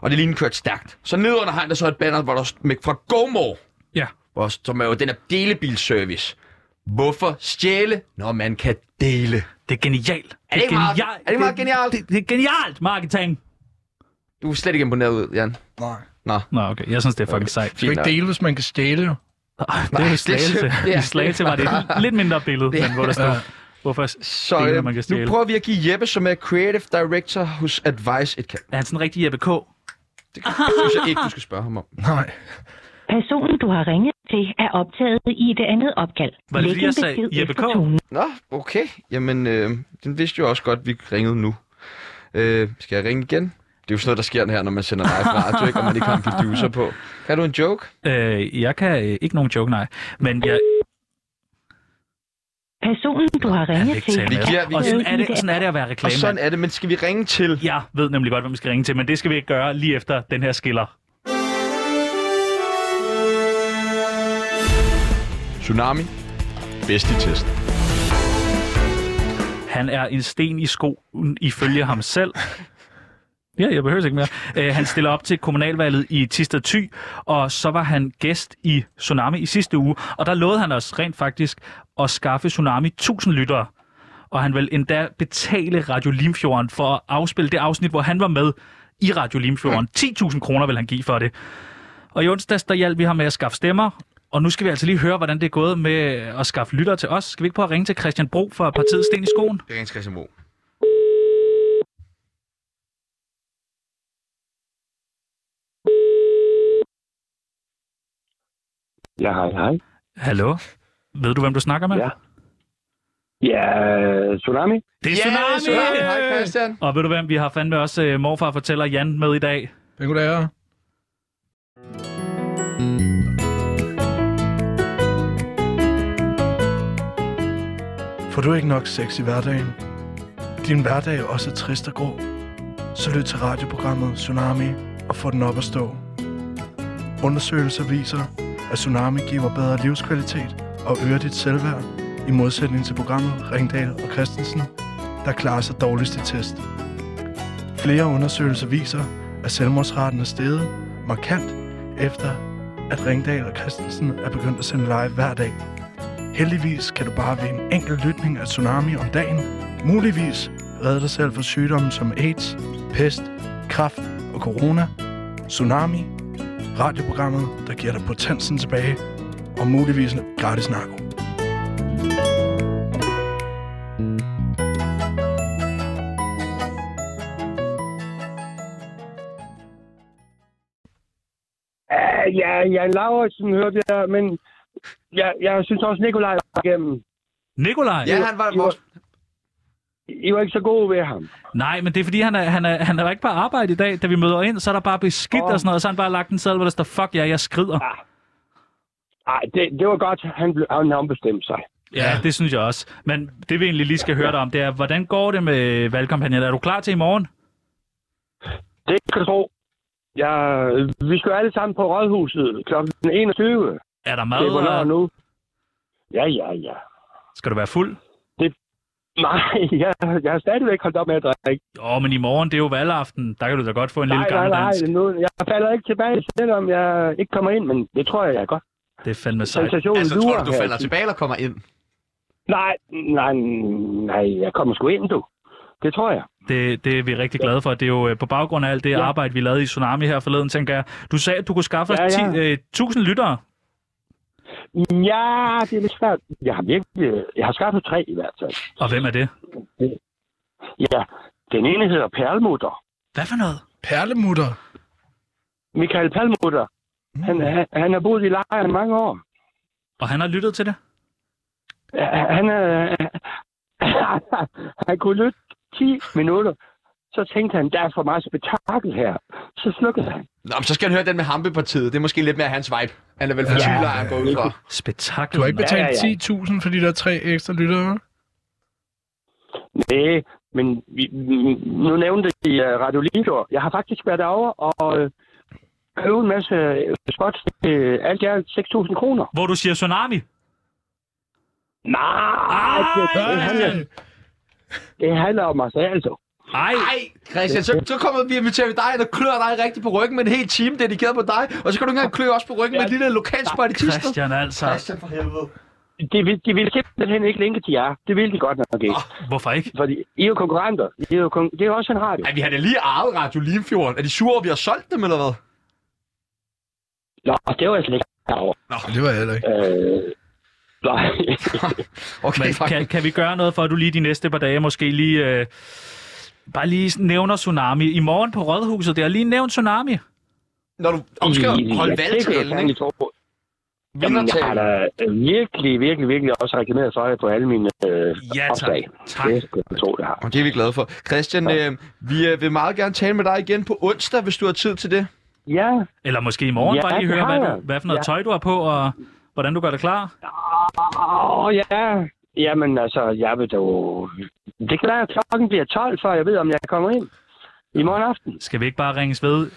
D: Og det lignede kørt stærkt. Så nedenunder hang der så et banner, hvor der stod, med- fra GoMore,
C: Ja.
D: hvor- som er jo den her delebilservice. Hvorfor stjæle, når man kan dele?
C: Det er genialt.
D: Er det ikke meget, er det ikke meget genialt?
C: Det, det er genialt, marketing.
D: Du er slet ikke imponeret ud, Jan.
A: Nej.
C: Nå, okay. Jeg synes, det er fucking sejt.
A: Du kan ikke dele, hvis man kan stjæle jo.
C: Det er jo i Slagelse.
D: det er-
C: I Slagelse var det et lidt mindre billede, men hvor der stod, hvorfor
D: Så
C: stjæler man
D: øh,
C: kan
D: nu
C: stjæle.
D: prøver vi at give Jeppe, som er Creative Director hos Advice, et kald.
C: Er han sådan en rigtig Jeppe K?
D: Det synes jeg ikke, du skal spørge ham om.
A: Nej.
F: Personen, du har ringet til, er optaget i et andet opkald.
C: Var det
F: Læg
C: fordi,
F: en
C: jeg sagde
F: besked
C: Jeppe
F: efter
C: K?
F: tonen.
D: Nå, okay. Jamen, øh, den vidste jo også godt, at vi ringede nu. Øh, skal jeg ringe igen? Det er jo sådan noget, der sker her, når man sender live radio, ikke? Og man ikke har en producer på. Kan du en joke?
C: Øh, jeg kan øh, ikke nogen joke, nej. Men jeg,
F: Personen, du har
C: jeg vil
F: ringet
C: ikke
F: til,
C: tale
D: Vi
C: med.
D: giver- vi
C: Og sådan
F: giver-
C: er, det, sådan er det at være reklame.
D: Og sådan er det, men skal vi ringe til?
C: Jeg ved nemlig godt, hvad man skal ringe til, men det skal vi ikke gøre lige efter den her skiller.
D: Tsunami. Bedst i test.
C: Han er en sten i skoen, ifølge ham selv. Ja, jeg behøver ikke mere. Øh, han stiller op til kommunalvalget i Tisted Thy, og så var han gæst i Tsunami i sidste uge. Og der lovede han os rent faktisk at skaffe Tsunami 1000 lyttere. Og han vil endda betale Radio Limfjorden for at afspille det afsnit, hvor han var med i Radio Limfjorden. 10.000 kroner vil han give for det. Og i onsdags, der hjalp vi ham med at skaffe stemmer. Og nu skal vi altså lige høre, hvordan det er gået med at skaffe lyttere til os. Skal vi ikke prøve at ringe til Christian Bro fra partiet Sten i Skoen?
D: Det er Christian Mo.
E: Ja, hej, hej.
C: Hallo? Ved du, hvem du snakker med?
E: Ja. Ja, Tsunami?
C: Det er
D: Ja,
C: Tsunami!
D: Tsunami! Hej, Christian.
C: Og ved du hvem, vi har fandme også øh, morfar fortæller Jan med i dag.
A: Hvem kunne det være? Får du ikke nok sex i hverdagen? Din hverdag er også trist og grå. Så lyt til radioprogrammet Tsunami og få den op at stå. Undersøgelser viser, at Tsunami giver bedre livskvalitet og øger dit selvværd, i modsætning til programmet Ringdal og Christensen, der klarer sig dårligst i test. Flere undersøgelser viser, at selvmordsraten er steget markant efter, at Ringdal og Christensen er begyndt at sende live hver dag. Heldigvis kan du bare ved en enkelt lytning af Tsunami om dagen muligvis redde dig selv fra sygdomme som AIDS, pest, kræft og corona. Tsunami, radioprogrammet, der giver dig potensen tilbage og muligvis gratis narko.
E: Uh, ja, Jan Lauritsen hørte jeg, men jeg, jeg synes også, Nikolaj var igennem.
C: Nikolaj?
D: Ja, han var vores...
E: I var ikke så gode ved ham.
C: Nej, men det er fordi, han er, han, er, han er ikke på arbejde i dag. Da vi møder ind, så er der bare beskidt oh. og sådan noget. Og så har han bare lagt en seddel, hvor der står, fuck jer, jeg skrider.
E: Nej, det, det var godt, han, blev, han, han bestemte sig.
C: Ja, ja, det synes jeg også. Men det vi egentlig lige skal høre dig om, det er, hvordan går det med valgkampagnen? Er du klar til i morgen?
E: Det kan du tro. Ja, vi skal jo alle sammen på Rådhuset kl. 21.
C: Er der
E: Det er
C: mad?
E: hvornår
C: Og...
E: nu? Ja, ja, ja.
C: Skal du være fuld?
E: Nej, jeg, jeg har stadigvæk holdt op med at drikke.
C: Åh, men i morgen, det er jo valgaften. Der kan du da godt få en
E: Nej,
C: lille
E: nej,
C: gammel
E: nej.
C: dansk.
E: Nu, jeg falder ikke tilbage, selvom jeg ikke kommer ind, men det tror jeg, jeg godt.
C: Det er fandme sejt.
E: Sensationen
D: Altså, tror
E: lurer
D: du, du
E: her.
D: falder tilbage eller kommer ind?
E: Nej, nej, nej, jeg kommer sgu ind, du. Det tror jeg.
C: Det, det er vi rigtig glade for. Det er jo øh, på baggrund af alt det ja. arbejde, vi lavede i Tsunami her forleden, tænker jeg. Du sagde, at du kunne skaffe os
E: Ja, ja.
C: 10, øh, 1000 lyttere.
E: Ja, det er lidt svært. Jeg har virkelig... Jeg har skaffet tre i hvert fald.
C: Og hvem er det?
E: Ja, den ene hedder Perlmutter.
C: Hvad for noget?
A: Perlemutter.
E: Michael Perlmutter. Han, han, han har boet i lejren mange år.
C: Og han har lyttet til det?
E: Han, han, er- han kunne lytte 10 minutter. Så tænkte han, der er for meget spektakel her. Så slukkede han.
D: Nå, men så skal han høre den med Hampepartiet. Det er måske lidt mere hans vibe. Han er vel for
A: Ja.
D: ja. han går ud fra.
C: Spektakel.
A: Du har ikke
C: mand.
E: Ja, ja,
A: betalt 10.000 for de der tre ekstra lyttere.
E: Nej, men vi, nu nævnte I uh, Radio Lido. Jeg har faktisk været derovre og øh, købt en masse øh, spots til alt i alt 6.000 kroner.
C: Hvor du siger Tsunami?
E: Nej, det, det, handler, det handler om mig selv, altså.
C: Ej,
D: Nej, Christian, så, så kommer vi og inviterer vi dig ind og klør dig rigtig på ryggen med en hel time dedikeret på dig. Og så kan du ikke engang klø os på ryggen med et lille lokalspot i Tisted.
C: Christian altså.
D: Christian for helvede.
E: De, vil- de ville simpelthen ikke linke til jer. Det ville de godt nok ikke.
C: Hvorfor ikke?
E: Fordi I er jo konkurrenter. I er jo kon- det er jo også en radio.
D: Ej, vi har da lige arvet Radio Limfjorden. Er de sure, over, vi har solgt dem, eller hvad?
E: Nå, det var jeg slet ikke herovre.
A: Det var jeg heller ikke.
E: Øh, nej.
D: Okay,
C: Men
D: fuck.
C: kan, kan vi gøre noget for, at du lige de næste par dage måske lige... Øh, bare lige nævner Tsunami. I morgen på Rådhuset, det har lige nævnt Tsunami.
D: Når du om du skal holde
E: Ja, det kan du
D: valgtalen,
E: fandme
D: ikke?
E: tro. Jamen, jeg har
D: Vindertalen.
E: da øh, virkelig, virkelig, virkelig også reklameret for jer på alle mine øh,
C: Ja, tak.
E: opslag.
C: Tak.
E: Det skal jeg tro, det har.
D: Og det er vi glade for. Christian, øh, vi øh, vil meget gerne tale med dig igen på onsdag, hvis du har tid til det.
E: Ja,
C: Eller måske i morgen,
E: Ja,
C: bare lige
E: det
C: høre,
E: har
C: hvad,
E: jeg.
C: du, hvad for noget
E: Ja.
C: tøj du har på, og hvordan du gør dig klar.
E: åh ja. Jamen altså, jeg vil dog... Det kan være, at klokken bliver 12, før jeg ved, om jeg kommer ind. I morgen aften.
C: Skal vi ikke bare ringes ved?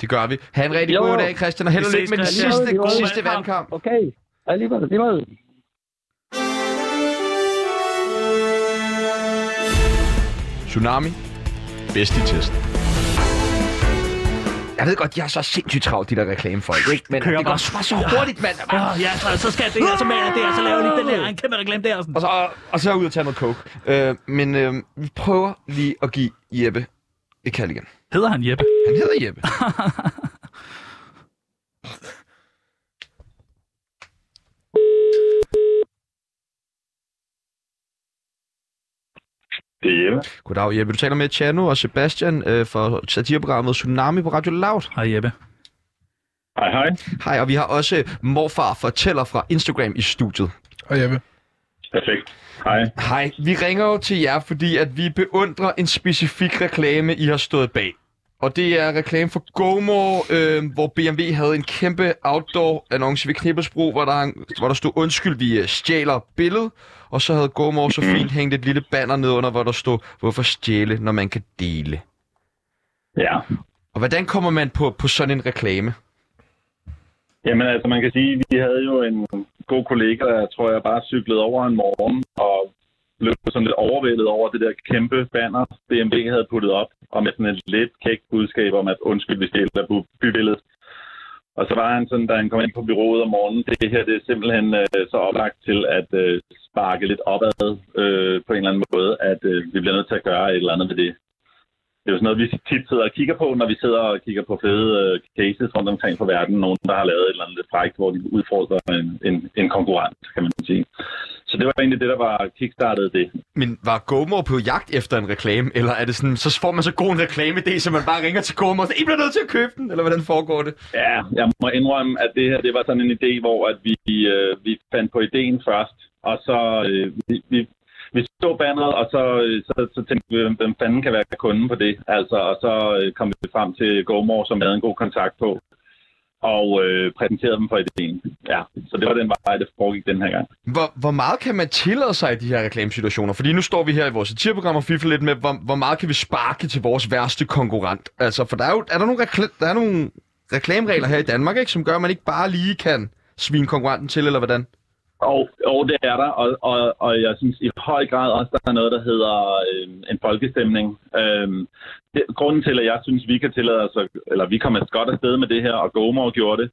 D: Det gør vi. Ha' en rigtig
E: Jo,
D: god
E: jo.
D: dag, Christian, og held og
C: Vi
D: lykke
C: ses,
D: med den
C: Christian.
D: sidste,
E: Jo, jo.
D: sidste vandkamp.
E: Okay. Alligevel, alligevel.
D: Tsunami. Bedst i testen. Jeg ved godt, jeg er så sindssygt travlt, de der reklamefolk, ikke? Men
C: Kører
D: det går
C: bare.
D: også bare så hurtigt, mand.
C: Åh, ja, så, så skal jeg det her, så maler jeg det her, så laver jeg lige den der, en kæmpe reklame der. og Sådan.
D: Og så, og, og så ud og tage noget coke. Øh, men øh, vi prøver lige at give Jeppe et kald igen.
C: Hedder han Jeppe?
D: Han hedder Jeppe.
G: Det er Jeppe.
D: Goddag, Jeppe. Du taler med Tjano og Sebastian øh, fra satireprogrammet Tsunami på Radio Loud.
C: Hej Jeppe.
G: Hej, hej.
D: Hej, og vi har også morfar fortæller fra Instagram i studiet.
A: Hej Jeppe.
G: Perfekt. Hej.
D: Hej, vi ringer jo til jer, fordi at vi beundrer en specifik reklame, I har stået bag. Og det er reklame for GoMore, øh, hvor BMW havde en kæmpe outdoor-annonce ved Knippelsbro, hvor der, hang- hvor der stod, undskyld, vi øh, stjæler billedet. Og så havde GoMore så fint hængt et lille banner ned under, hvor der stod, hvorfor stjæle, når man kan dele.
G: Ja.
D: Og hvordan kommer man på, på sådan en reklame?
G: Jamen altså, man kan sige, vi havde jo en god kollega, der tror jeg bare cyklede over en morgen og blev sådan lidt overvældet over det der kæmpe banner, DMB havde puttet op, og med sådan et lidt kægt budskab om, at undskyld, vi stjæler bu- bybilledet. Og så var han sådan, da han kom ind på byrådet om morgenen, det her det er simpelthen øh, så oplagt til at øh, sparke lidt opad øh, på en eller anden måde, at øh, vi bliver nødt til at gøre et eller andet ved det. det er jo sådan noget, vi tit sidder og kigger på, når vi sidder og kigger på fede øh, cases rundt omkring på verden. Nogen, der har lavet et eller andet lidt frækt, hvor de udfordrer en, en, en konkurrent, kan man sige. Så det var egentlig det, der var kickstartet det.
D: Men var GoMore på jagt efter en reklame, eller er det sådan, så får man så god en reklameidé, så man bare ringer til GoMore og siger, I bliver nødt til at købe den, eller hvordan foregår det?
G: Ja, jeg må indrømme, at det her det var sådan en idé, hvor at vi, øh, vi fandt på ideen først, og så øh, vi, vi, vi så banneret, og så, øh, så, så tænkte vi, hvem- hvem fanden kan være kunden på det? Altså, og så øh, kom vi frem til GoMore, som vi havde en god kontakt på, og øh, præsenterede dem for ideen. Ja, så det var den vej, det foregik den her gang.
D: Hvor, hvor meget kan man tillade sig i de her reklamesituationer? Fordi nu står vi her i vores satireprogram og fifler lidt med, hvor, hvor meget kan vi sparke til vores værste konkurrent? Altså, for der er jo er der nogle, rekla- der er nogle reklameregler her i Danmark, ikke, som gør, at man ikke bare lige kan svine konkurrenten til, eller hvordan?
G: Og, og det er der, og, og, og jeg synes i høj grad også, der er noget, der hedder øh, en folkestemning. Øh, det, grunden til, at jeg synes, vi kan tillade os, at- eller vi kom et godt afsted med det her, og Gomor gjorde det,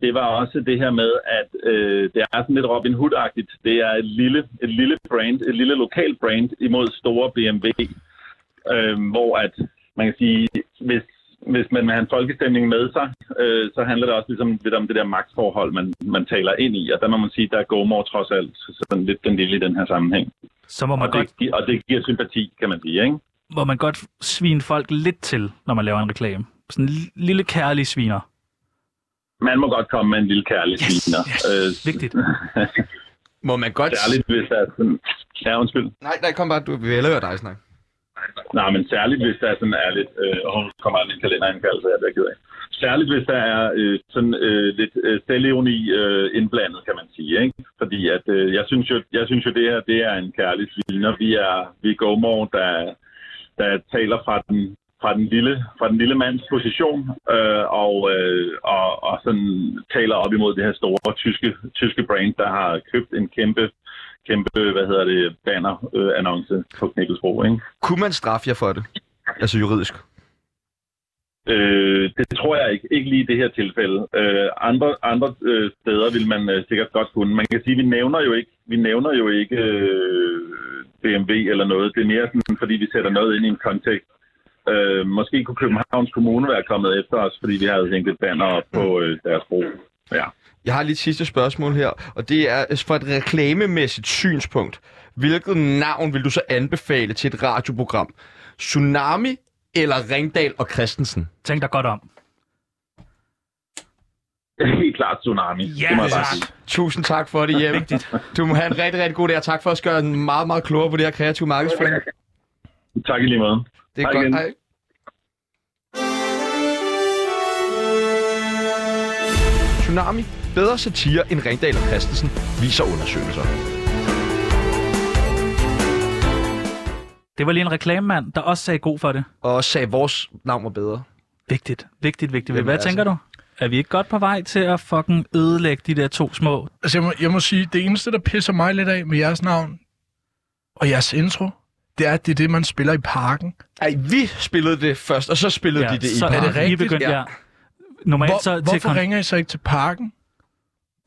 G: det var også det her med, at øh, det er sådan lidt Robin Hood-agtigt. Det er et lille, et lille brand, et lille lokal brand imod store BMW, øh, hvor at man kan sige, hvis hvis man vil have en folkestemning med sig, øh, så handler det også ligesom lidt om det der magtforhold, man, man taler ind i. Og der må man sige, der er GoMore trods alt sådan lidt den lille i den her sammenhæng.
C: Så må man,
G: Og
C: godt,
G: det, gi- og det giver sympati, kan man sige, ikke?
C: må man godt svine folk lidt til, når man laver en reklame. Sådan en li- lille kærlig sviner.
G: Man må godt komme med en lille kærlig
C: Yes,
G: sviner.
C: yes. Vigtigt.
D: Må man godt...
G: Særligt, hvis der er sådan... Ja, undskyld.
D: Nej, nej, kom bare, du vi vil hellere høre dig snakke.
G: Nej, men særligt, hvis der er sådan er lidt... Øh, og hun kommer aldrig en kalenderindkald, så jeg bliver ked af. Særligt, hvis der er øh, sådan øh, lidt øh, selvironi øh, indblandet, kan man sige, ikke? Fordi at, øh, jeg, synes jo, jeg synes jo, det her, det er en kærlig sviner. Vi er, vi er GoMore, der, der taler fra den, fra den, lille, fra den lille mands position, øh, og, øh, og, og sådan taler op imod det her store tyske, tyske brand, der har købt en kæmpe, kæmpe, hvad hedder det, banner-annonce på Knikkelsbro, ikke?
D: Kunne man straffe jer for det? Altså juridisk.
G: Øh, det tror jeg ikke. Ikke lige i det her tilfælde. Øh, andre andre øh, steder vil man øh, sikkert godt kunne. Man kan sige, vi nævner jo ikke, vi nævner jo ikke øh, BMW eller noget. Det er mere sådan, fordi vi sætter noget ind i en kontekst. Øh, måske kunne Københavns Kommune være kommet efter os, fordi vi havde hængt et banner op på øh, deres bro. Ja.
D: Jeg har lige et sidste spørgsmål her, og det er øh, fra et reklamemæssigt synspunkt. Hvilket navn vil du så anbefale til et radioprogram? Tsunami eller Ringdal og Christensen?
C: Tænk dig godt om.
G: Helt klart tsunami.
C: Ja,
G: det må jeg
C: tak.
G: bare sige.
D: Tusind tak for det, Jeppe.
C: Vigtigt.
D: Du må have en rigtig, rigtig god dag, og tak for at gøre en meget, meget klogere på det her kreative markedsføring.
G: Tak i lige måde.
D: Det er
G: Hej
D: godt.
G: igen.
D: Hej. Tsunami. Bedre satire end Ringdal og Christensen, viser undersøgelser.
C: Det var lige en reklamemand, der også sagde god for det.
D: Og sagde, vores navn var bedre.
C: Vigtigt, vigtigt, vigtigt.
D: Jamen,
C: Hvad
D: altså.
C: tænker du? Er vi ikke godt på vej til at fucking ødelægge de der to små?
A: Altså, jeg må, jeg må sige, det eneste, der pisser mig lidt af med jeres navn og jeres intro, det er, at det er det, man spiller i parken.
D: Ej, vi spillede det først, og så spillede ja, de det i
C: så
A: parken.
C: er det rigtigt? Begyndt,
D: Ja.
C: ja. Normalt
A: Hvor,
C: så til
A: hvorfor
C: kon-
A: ringer I så ikke til parken?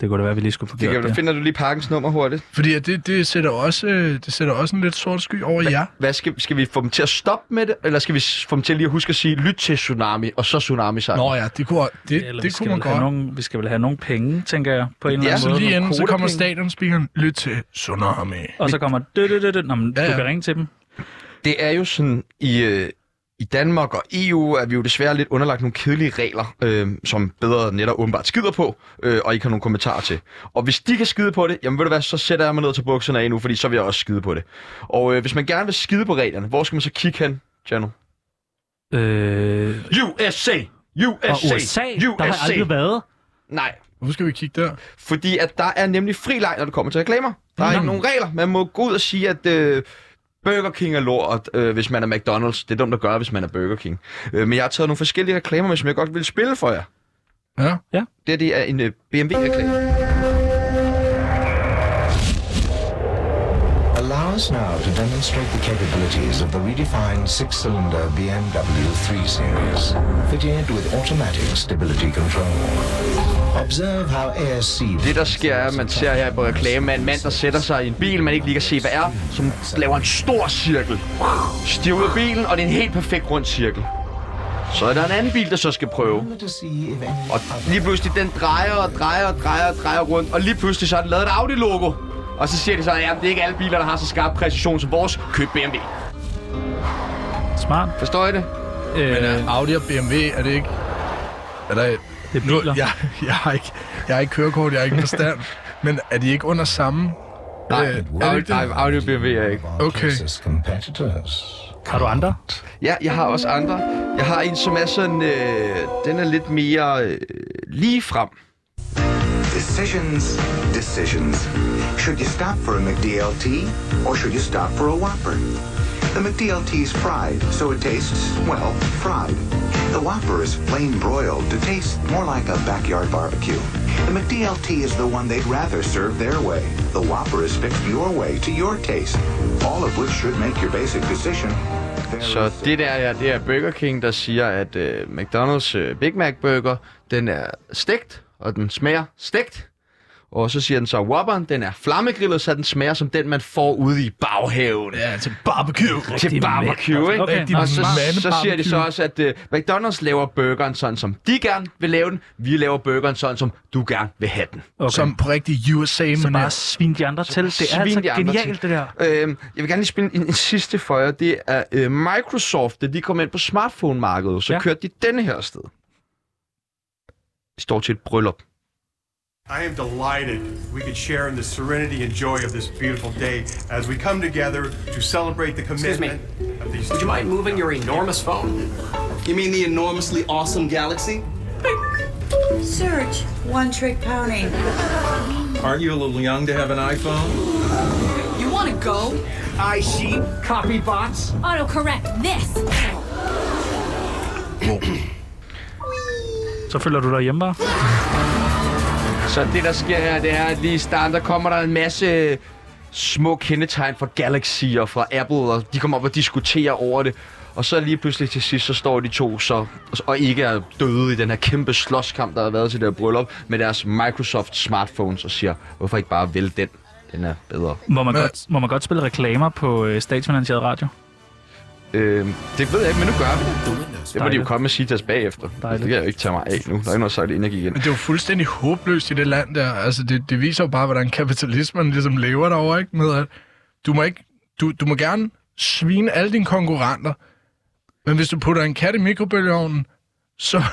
C: Det kunne da være, at vi lige skulle få
D: Det
C: gjort
D: kan,
C: det.
D: du finder du lige parkens nummer hurtigt.
A: Fordi at det, det, sætter også, øh, det sætter også en lidt sort sky over jer.
D: Hvad skal, skal vi få dem til at stoppe med det, eller skal vi s- få dem til lige at huske at sige, lyt til Tsunami, og så Tsunami sang?
A: Nå ja, det kunne, det,
C: Eller vi
A: det
C: skal
A: kunne man
C: vel have
A: godt.
C: Nogle, vi skal vel have nogle penge, tænker jeg, på en eller
D: Ja,
C: anden
A: Så
C: måde.
A: lige inden, så kommer
D: kvotepenge.
A: stadionspeakeren, lyt til Tsunami.
C: Og så kommer dø, dø, dø, dø. Nå, men
A: Ja,
C: ja, ja.
A: ja.
C: du kan ringe til dem.
D: Det er jo sådan, i, øh, i Danmark og EU er vi jo desværre lidt underlagt nogle kedelige regler, øh, som bedre netop åbenbart skider på, øh, og ikke har nogen kommentarer til. Og hvis de kan skide på det, jamen ved du hvad, så sætter jeg mig ned til bukserne af nu, fordi så vil jeg også skide på det. Og øh, hvis man gerne vil skide på reglerne, hvor skal man så kigge hen, Jano?
C: Øh,
D: USA!
C: og
D: USA!
C: USA, der har jeg aldrig været.
D: Nej,
A: Hvorfor skal vi kigge der?
D: Fordi at der er nemlig fri leg, når det kommer til reklamer. Der er ikke nogen regler. Man må gå ud og sige, at øh, Burger King er lort, øh, hvis man er McDonald's. Det er dumt at gøre, hvis man er Burger King. Øh, men jeg har taget nogle forskellige reklamer med, som jeg godt vil spille for jer.
A: Ja.
D: Det, her, det er en øh, BMW-reklame.
H: Allow us now to demonstrate the capabilities of the redefined six-cylinder BMW 3 Series, fitted with automatic stability control. Observe how ASC...
D: Det, der sker, er, at man ser her på reklamen er en mand, der sætter sig i en bil, man ikke lige kan se, hvad er, som laver en stor cirkel. Stiger ud af bilen, og det er en helt perfekt rund cirkel. Så er der en anden bil, der så skal prøve.
H: To see if any
D: Og lige pludselig, den drejer og drejer og drejer og drejer rundt, og lige pludselig så har den lavet et Audi-logo. Og så siger de så, at jamen, det er ikke alle biler, der har så skarp præcision som vores. Køb BMW.
C: Smart.
D: Forstår I det?
C: Øh,
A: Men øh, Audi og BMW, er det ikke... Er der,
C: det er biler.
A: jeg, jeg, har ikke, jeg har ikke kørekort, jeg har ikke forstand. men er de ikke under samme... er
D: Nej,
A: det
D: Audi,
A: ikke
D: nej,
A: det?
D: Audi og BMW er ikke.
H: of our
A: Okay.
H: closest competitors.
C: Har du andre?
D: Ja, jeg har også andre. Jeg har en, som er sådan, øh, den er lidt mere øh, lige frem.
I: Decisions, decisions. Should you stop for a McDLT or should you stop for a Whopper? The McDLT's fried, so it tastes, well, fried. The Whopper is flame broiled to taste more like a backyard barbecue. The McDLT is the one they'd rather serve their way. The Whopper is fixed your way to your taste, all of which should make your basic decision. very
D: Så det der ja, det er Burger King, der siger, at øh, McDonald's øh, Big Mac Burger, den er stegt, og den smager stegt. Og så siger den så, Whopper'en, den er flammegrillet, så den smager som den, man får ude i baghaven. Ja,
A: til barbecue.
D: til barbecue, ikke?
C: Okay,
A: Altså, Rigtig
C: nå,
D: Og så,
A: Mande
D: så siger de så
A: barbecue.
D: også, at øh, McDonald's laver burgeren sådan, som de gerne vil lave den. Vi laver burgeren sådan, som du gerne vil have den.
C: okay.
A: Som på rigtig USA,
C: så
A: men
C: bare svin de andre til. Det er
D: Svin
C: altså
D: de andre
C: genialt,
D: til.
C: det der.
D: Øhm, jeg vil gerne lige spille en, en sidste for jer. Det er øh, Microsoft, da de kom ind på smartphone-markedet, så
C: Ja.
D: ja. kørte de denne her sted. De står til et bryllup.
J: I am delighted we could share in the serenity and joy of this beautiful day as we come together to celebrate the commitment of these. Would you mind moving your enormous phone?
K: You mean the enormously awesome galaxy?
I: Search one trick pony.
K: Aren't you a little young to have an iPhone?
I: You want to go? I see copy bots. Autocorrect this.
C: Så følger du dig hjemme bare.
D: Så det, der sker her, det er, at lige i starten, der kommer der en masse øh, små kendetegn fra Galaxy og fra Apple, og de kommer op og diskuterer over det. Og så lige pludselig til sidst, så står de to så, og ikke er døde i den her kæmpe slåskamp, der har været til det her bryllup, med deres Microsoft smartphones og siger, hvorfor ikke bare vælge den? Den er bedre.
C: Må man,
A: Men-
C: godt, må man godt spille reklamer på øh, statsfinansieret radio?
D: Øh, det ved jeg ikke, men nu gør vi det. Det må de jo
C: Dejligt.
D: komme med CITAS bagefter.
C: Dejligt.
D: Det kan jeg jo ikke tage mig af nu. Der er ikke noget sejt energi igen.
A: Men det er jo fuldstændig håbløst i det land der. Altså, det, det viser jo bare, hvordan kapitalismen ligesom lever derovre, ikke? Med at du må, ikke, du, du må gerne svine alle dine konkurrenter, men hvis du putter en kat i mikrobølgeovnen, så,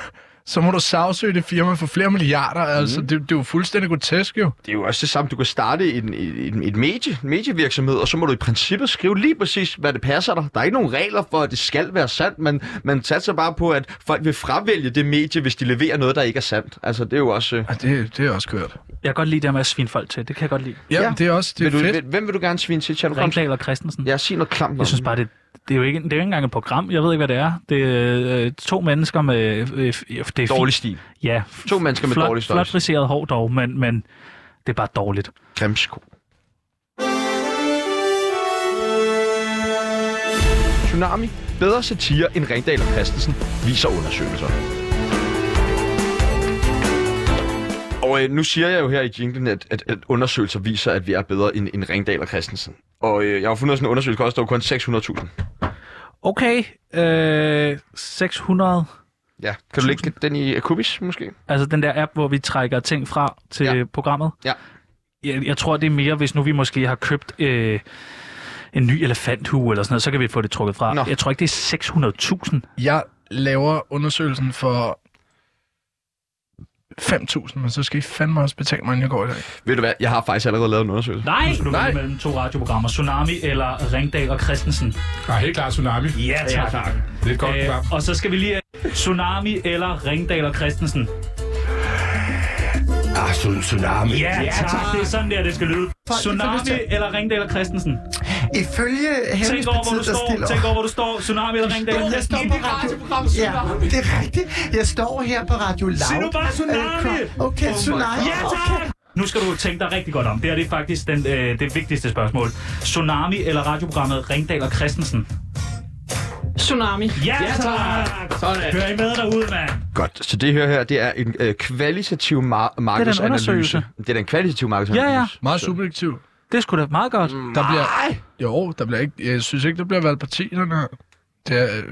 A: så må du sagsøge det firma for flere milliarder.
D: Mhm.
A: Altså, det, det er jo fuldstændig grotesk, jo.
D: Det er jo også det samme. Du kan starte en, en, et medie, en medievirksomhed, og så må du i princippet skrive lige præcis, hvad det passer dig. Der er ikke nogen regler for, at det skal være sandt. Man, man satser bare på, at folk vil fravælge det medie, hvis de leverer noget, der ikke er sandt. Altså, det er jo også... Øh...
A: Ja, det, det er også kørt.
C: Jeg kan godt lide det her med at svine folk til. Det kan jeg godt lide.
A: Jamen,
D: Ja.
A: ja. det er også det er
D: Vil du,
A: fedt.
D: vil, hvem vil du gerne svine til? Tjerno Grams?
C: Ringdal og Christensen.
D: Ja, sig noget klamt.
C: Jeg synes bare, det, det er jo ikke, det er jo ikke engang et program. Jeg ved ikke, hvad det er. Det er øh, to mennesker med... Øh, øh, det er fint.
D: Dårlig stil.
C: Ja.
D: To mennesker med
C: flot,
D: dårlig
C: Flot
D: størrelse.
C: friseret hår dog, men, men det er bare dårligt.
D: Grimsko. Tsunami. Bedre satire end Ringdal og Christensen, viser undersøgelser. Og øh, nu siger jeg jo her i jinglen, at, at, at undersøgelser viser, at vi er bedre end, end Ringdal og Christensen. Og øh, jeg har fundet sådan en undersøgelse, der koster jo kun 600.000.
C: Okay, øh, 600...
D: Ja. Kan du lægge den i øh, Kubis, måske?
C: Altså den der app, hvor vi trækker ting fra til
D: Ja.
C: ja. programmet.
D: Ja.
C: Jeg, jeg tror, det er mere, hvis nu vi måske har købt øh, en ny elefanthue eller sådan noget, så kan vi få det trukket fra. Nå. Jeg tror ikke, det er 600.000.
A: Jeg laver undersøgelsen for 5.000, men så skal I fandme også betale mig, inden jeg går i dag.
B: Ved du hvad, jeg har faktisk allerede lavet en undersøgelse.
C: Nej! Du Nej. mellem to radioprogrammer, Tsunami eller Ringdal og Christensen.
L: Ja, helt klart Tsunami.
C: Ja, tak. Øh,
L: tak. Det er et godt program.
C: og så skal vi lige... Tsunami eller Ringdal og Christensen.
L: Ah, tsun- Tsunami.
C: Ja, tak. Det er sådan der, det skal lyde. Tsunami eller Ringdal og Christensen.
M: Ifølge
C: Tænk over, hvor
M: Hemmeligheds
C: du
M: Partiet, der
C: står.
M: stiller-
C: Tænk over, hvor du står. Tsunami eller Ringdal og
M: Jeg står
C: Christensen.
M: på radioprogrammet Tsunami. Ja, det er rigtigt. Jeg står her på Radio Loud.
C: Sig nu bare Tsunami!
M: Øh, Okay,
C: Oh my
M: Tsunami.
C: God. Ja, tak! Nu skal du tænke dig rigtig godt om. Det her det er faktisk den, øh, det vigtigste spørgsmål. Tsunami eller radioprogrammet Ringdal og Christensen?
N: Tsunami.
C: Ja, tak! Sådan. Hør I med derude, mand?
D: Godt, så det her her, det er en øh, kvalitativ mar- markedsanalyse.
A: undersøgelse.
D: Det er den kvalitative markedsanalyse.
A: Meget subjektiv.
C: Det er sgu da meget godt.
D: Mm.
A: Der bliver, jo, der bliver ikke, jeg synes ikke, der bliver valgt parti, den her. Det er, øh, det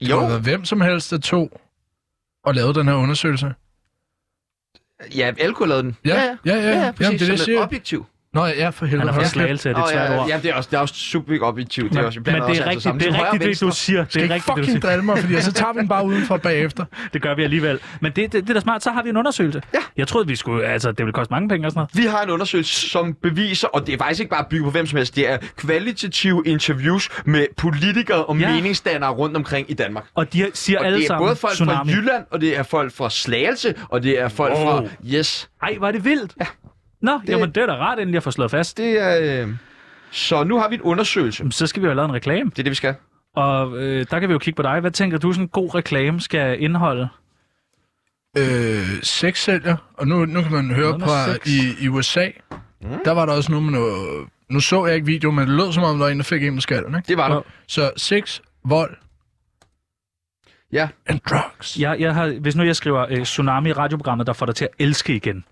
D: Jo.
A: jo. Været hvem som helst, der tog og lavede den her undersøgelse.
D: Ja, Elko lavede den.
A: Ja, ja, ja, ja,
D: ja, præcis,
A: jamen, det er det, jeg
D: som
A: siger.
D: et objektiv.
A: Nå, ja, for helvede.
D: Han er fra
A: hold
D: Slagelse,
A: kæft.
D: det er et Åh, ja, svært ord. ja, det er også, det er også super objektivt. Det er også- vi blander også altid sammen. Til højre og venstre.
A: Skal ikke fucking drille mig, fordi så tager vi den bare udenfor bagefter.
C: Det gør vi alligevel. Men det, det, det er da smart, så har vi en undersøgelse. Ja. Jeg troede, vi skulle, altså, det ville koste mange penge og sådan noget.
D: Vi har en undersøgelse, som beviser, og det er faktisk ikke bare bygget på hvem som helst, det er kvalitative interviews med politikere og
C: Ja.
D: ja. meningsdannere rundt omkring i Danmark.
C: Og de siger
D: og
C: alle
D: det er
C: sammen
D: både folk
C: tsunami.
D: fra Jylland, og det er folk fra Slagelse, og det er folk
C: Wow.
D: fra... Yes.
C: Ej, var det vildt?
D: Ja.
C: Nå, det... jamen det er da rart, inden jeg får slået fast.
D: Det er... Øh... Så nu har vi en undersøgelse.
C: Så skal vi jo have lavet en reklame.
D: Det er det, vi skal.
C: Og øh, der kan vi jo kigge på dig. Hvad tænker du, sådan en god reklame skal indeholde?
A: Øh, sex sælger, og nu, nu kan man høre
C: Noget med
A: på
C: sex.
A: i, i USA, mm. der var der også noget med noget, nu så jeg ikke videoen, men det lød som om, der var en, der fik en med skallen, ikke?
D: Det var der.
A: Så sex, vold,
D: Ja.
A: and drugs.
C: Jeg, jeg har, hvis nu jeg skriver øh, Tsunami i radioprogrammet, der får dig til at elske igen.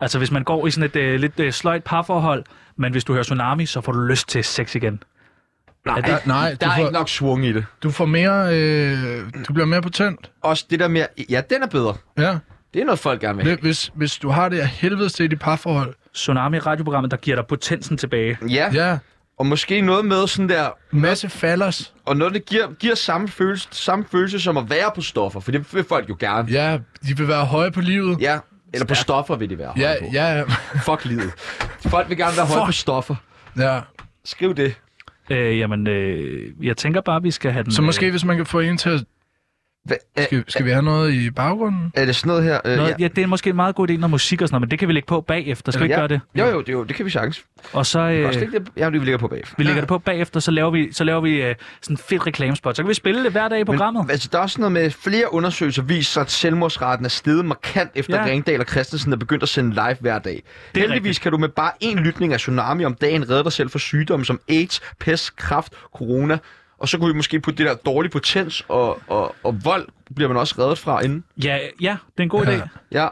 C: Altså hvis man går i sådan et øh, lidt øh, sløjt parforhold, men hvis du hører Tsunami, så får du lyst til sex igen.
D: Nej,
C: Er det-
A: nej,
D: der
A: du
D: er
A: får-
D: ikke nok svung i det.
A: Du får mere, øh, du bliver mere potent.
D: Også det der med... Ja, den er bedre.
A: Ja.
D: Det er noget, folk gerne vil have.
A: Hvis- Hvis, hvis du har det af helvede til i dit parforhold,
C: Tsunami i radioprogrammet, der giver dig potensen tilbage.
D: Ja.
A: ja.
D: Og måske noget med sådan der...
A: Masse fallers.
D: Og noget, der giver, giver samme, følelse, samme følelse som at være på stoffer, for det vil folk jo gerne.
A: ja, de vil være høje på livet.
D: Ja, eller på stoffer vil de være høje
A: Ja,
D: på.
A: ja,
D: Fuck livet. Folk vil gerne være høje på
A: Fuck.
D: stoffer.
A: ja.
D: Skriv det.
C: Øh, jamen, øh, jeg tænker bare, vi skal have den... øh,
A: Så måske, hvis man kan få en til at... Skal, skal vi have noget i baggrunden?
D: Er det sådan noget her?
C: Øh, noget, ja. ja, det er måske en meget god idé, når musik og sådan noget, men det kan vi lægge på bagefter. Skal vi ikke
D: ja.
C: gøre det?
D: Jo, jo, det, jo, det kan vi sagtens.
C: Og så...
D: Øh.
C: Øh,
D: Også det, det- ja, det vi ligger på bagefter.
C: vi lægger det på bagefter, så laver vi, så laver vi øh, sådan en fed reklamespot. Så kan vi spille det hver dag i programmet.
D: Men, altså, der er også noget med, flere undersøgelser viser, sig, at selvmordsraten er steget markant efter
C: Ja.
D: ja. Ringdal og Christensen er begyndt at sende live hver dag. Heldigvis
C: rigtigt.
D: kan du med bare én lytning af Tsunami om dagen redde dig selv fra sygdomme som AIDS, pest, kraft, corona. Og så kunne vi måske putte det der dårlige potens og, og, og vold, bliver man også reddet fra inden.
C: Ja, ja, det er en god idé.
D: Ja.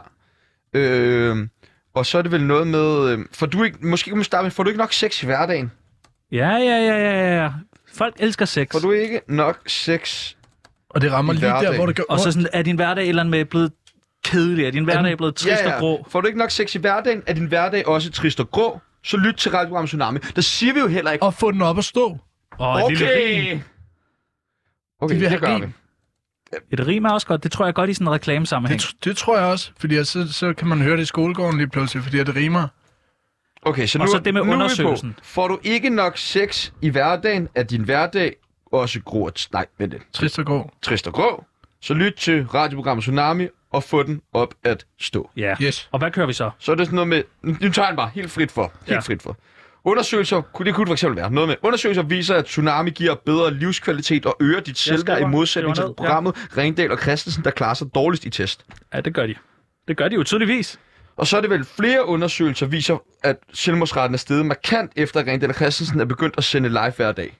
D: Øh, og så er det vel noget med, øh, for du ikke, måske kan man starte med, får du ikke nok sex i hverdagen?
C: Ja, ja, ja, ja, ja, ja. Folk elsker sex.
D: Får du ikke nok sex
A: Og det rammer
D: i
A: lige der,
D: hverdagen?
A: hvor det gør
C: Og så sådan, er din hverdag et eller andet med blevet kedelig? Er din hverdag blevet trist og grå?
D: Får du ikke nok sex i hverdagen, er din hverdag også trist og grå, så lyt til radioprogrammet Tsunami. Der siger vi jo heller ikke...
A: Og få den op at stå.
C: Og et lille rim.
D: Okay,
A: De vil
D: det
A: have
D: gør
A: rim.
D: vi.
C: Et rim er også godt. Det tror jeg godt i sådan en reklamesammenhæng.
A: Det, det tror jeg også, fordi så, så kan man høre det i skolegården lige pludselig, fordi det rimer.
D: Okay, så
A: Og
D: nu,
A: så det med
D: nu er vi på.
A: undersøgelsen.
D: Får du ikke nok sex i hverdagen, er din hverdag også grå og... Nej, vent lidt.
A: Trist og grå.
D: Trist og grå. Så lyt til radioprogrammet Tsunami og få den op at stå.
C: Ja.
A: Yes.
C: Og hvad kører vi så?
D: Så er det sådan noget med... Nu nu tager jeg den bare helt frit for. Helt
C: Ja.
D: ja. frit for. Undersøgelser, kunne- det kunne det for eksempel være noget med. Undersøgelser viser, at tsunami giver bedre livskvalitet og øger dit selvværd i
C: skriver-
D: modsætning til
C: skriver ned, ja.
D: programmet ja. Ringdal og Christensen, der klarer sig dårligst i test.
C: Ja, det gør de. Det gør de jo tydeligvis.
D: Og så er det vel flere undersøgelser viser, at selvmordsraten er steget markant efter at Ringdal og Christensen er begyndt at sende live hver dag.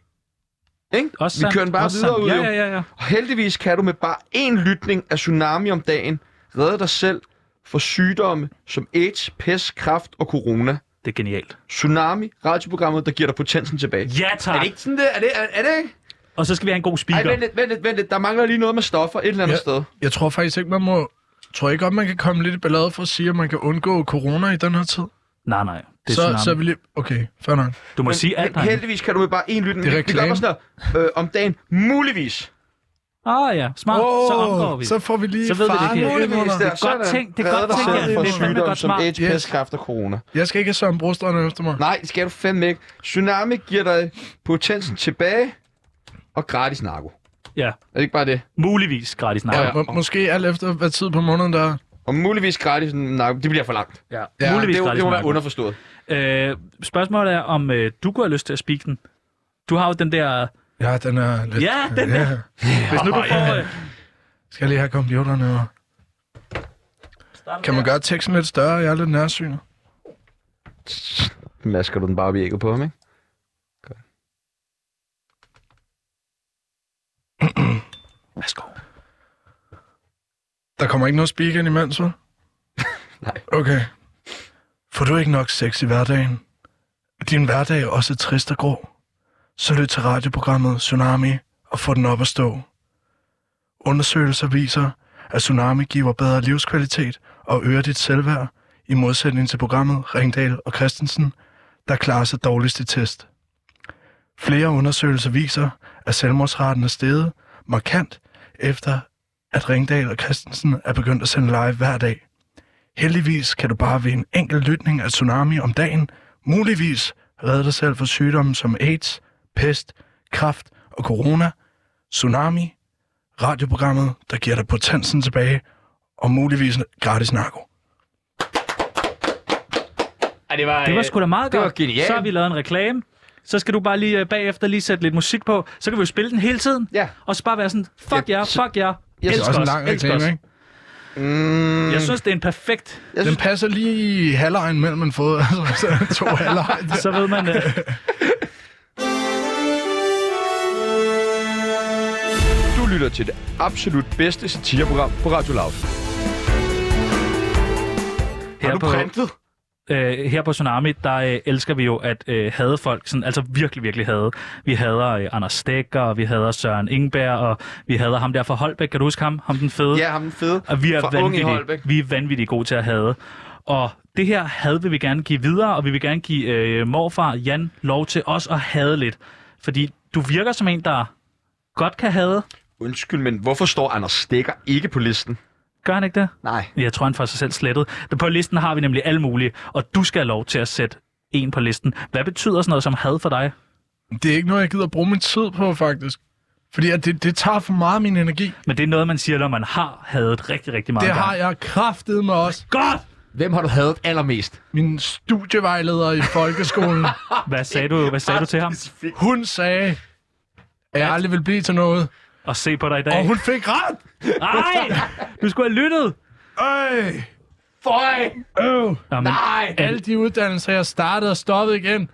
D: Ikke?
C: Også
D: Vi
C: sandt,
D: kører den bare
C: også
D: videre
C: sandt.
D: ud.
C: Ja,
D: jo.
C: ja, ja, ja.
D: Og heldigvis kan du med bare én lytning af Tsunami om dagen redde dig selv for sygdomme som AIDS, pest, kraft og corona.
C: Det er genialt.
D: Tsunami, radioprogrammet, der giver dig potensen tilbage.
C: Ja, tak.
D: Er det ikke sådan det? Er det, er, er det ikke?
C: Og så skal vi have en god
D: Ej,
C: speaker.
D: vent lidt, vent lidt, vent lidt. Der mangler lige noget med stoffer et eller andet sted.
A: Jeg tror faktisk ikke, man må... Tror jeg ikke godt, man kan komme lidt i ballade for at sige, at man kan undgå corona i den her tid?
C: Nej, nej. Det er
A: så,
C: tsunami.
A: så vil jeg... Okay, fair nok.
C: Du må
D: Men
C: sige alt
D: he-
C: herinde.
D: Heldigvis kan du med bare én lytte.
A: Det er
D: Vi- Vi gør
A: reklame.
D: bare sådan her, øh, om dagen. Muligvis.
C: Ah ja, smart.
A: Åh,
C: så omgår vi.
A: så får vi lige
C: så ved vi det
A: faren
C: ikke.
A: muligvis
C: Det
A: der.
C: er godt
A: Sådan.
C: tænkt. Det er godt
A: Redder
C: tænkt.
A: dig
C: ja.
A: selv
C: Det
A: for
C: er fandme
D: Sygdom
C: godt
D: som
C: smart.
D: AIDS,
A: Yes.
D: pest, kræft og corona.
A: Jeg skal ikke have Søren Brostrøm efter mig.
D: Nej, det skal du fandme ikke. Tsunami giver dig potensen tilbage og gratis narko.
C: Ja.
D: Er det ikke bare det?
C: Muligvis gratis
A: Ja,
C: narko.
A: ja. Må, måske alt efter, hvad tid på måneden der er.
D: Og muligvis gratis narko. Det bliver for langt.
C: Ja.
A: Ja,
C: Muligvis
D: det, er jo-
C: gratis
D: det må være
C: narko.
D: underforstået.
C: Øh, spørgsmålet er, om øh, du kunne have lyst til at speak den. Du har jo den der...
A: Ja, den er lidt...
C: Ja, den der. Hvis nu du får... Øh,
A: Skal jeg lige have computerne og... Kan man gøre teksten lidt større? Jeg er lidt nærsynet.
D: Masker du den bare op i ægget på ham, ikke?
C: Værsgo.
A: Der kommer ikke noget speak ind imens, vel?
D: Nej.
A: Okay. Får du ikke nok sex i hverdagen? Er Din hverdag også trist og grå? Så lyt til radioprogrammet Tsunami og få den op at stå. Undersøgelser viser, at Tsunami giver bedre livskvalitet og øger dit selvværd, i modsætning til programmet Ringdal og Christensen, der klarer sig dårligst i test. Flere undersøgelser viser, at selvmordsraten er steget markant, efter at Ringdal og Christensen er begyndt at sende live hver dag. Heldigvis kan du bare ved en enkelt lytning af Tsunami om dagen muligvis redde dig selv fra sygdomme som AIDS, pest, kraft og corona. Tsunami, radioprogrammet, der giver dig potensen tilbage og muligvis gratis narko.
D: Ej, det var,
C: Det var sgu da meget
D: det
C: godt.
D: var genialt.
C: Så har vi lavet en reklame. Så skal du bare lige øh, bagefter lige sætte lidt musik på. Så kan vi jo spille den hele tiden.
D: Ja.
C: Og så bare være sådan, fuck
D: Ja,
C: jer,
D: så-
C: fuck jer.
A: Jeg det er
C: Elsk
A: også en
C: os,
A: lang
C: elsk os.
A: reklame, ikke?
D: Mm,
C: Jeg synes, det er en perfekt...
D: jeg
A: Den
D: synes,
A: passer lige i halvlejen mellem en fod, altså så er der to halvlejen.
C: Så ved man... Øh,
D: du lytter til det absolut bedste satireprogram på Radio Loud. Har
C: Her
D: du
C: på-
D: printet?
C: øh, her på Tsunami, der øh, elsker vi jo at øh, hade folk, sådan, altså virkelig, virkelig hade. Vi hader øh, Anders Stegger, og vi hader Søren Ingberg, og vi hader ham der fra Holbæk. Kan du huske ham? Ham den fede?
D: Ja, ham den fede.
C: Og vi er,
D: Fra Unge i
C: vanvittige,
D: Holbæk.
C: vi er vanvittigt gode til at have. Og det her had vil vi gerne give videre, og vi vil gerne give øh, morfar Jan lov til os at have lidt. Fordi du virker som en, der godt kan have.
D: Undskyld, men hvorfor står Anders Stikker ikke på listen?
C: Gør han ikke det?
D: Nej.
C: Jeg tror, han får sig selv slettet. På listen har vi nemlig alle mulige, og du skal have lov til at sætte en på listen. Hvad betyder sådan noget som had for dig?
A: Det er ikke noget, jeg gider bruge min tid på, faktisk. Fordi at det, det tager for meget af min energi.
C: Men det er noget, man siger, når man har hadet rigtig, rigtig meget.
A: Det har
C: gang.
A: jeg kraftet med også.
C: Godt!
D: Hvem har du hadet allermest?
A: Min studievejleder i folkeskolen,
C: Hvad sagde du, hvad sagde du til ham?
A: hun sagde, at jeg aldrig vil blive til noget.
C: Og se på dig i
A: Og
C: dag.
A: hun fik ret!
C: Nej! Du skulle have lyttet!
A: Øj!
D: Føj!
A: Øv!
C: Nå, men
D: Nej!
A: Alle de uddannelser, jeg startede og stoppede igen.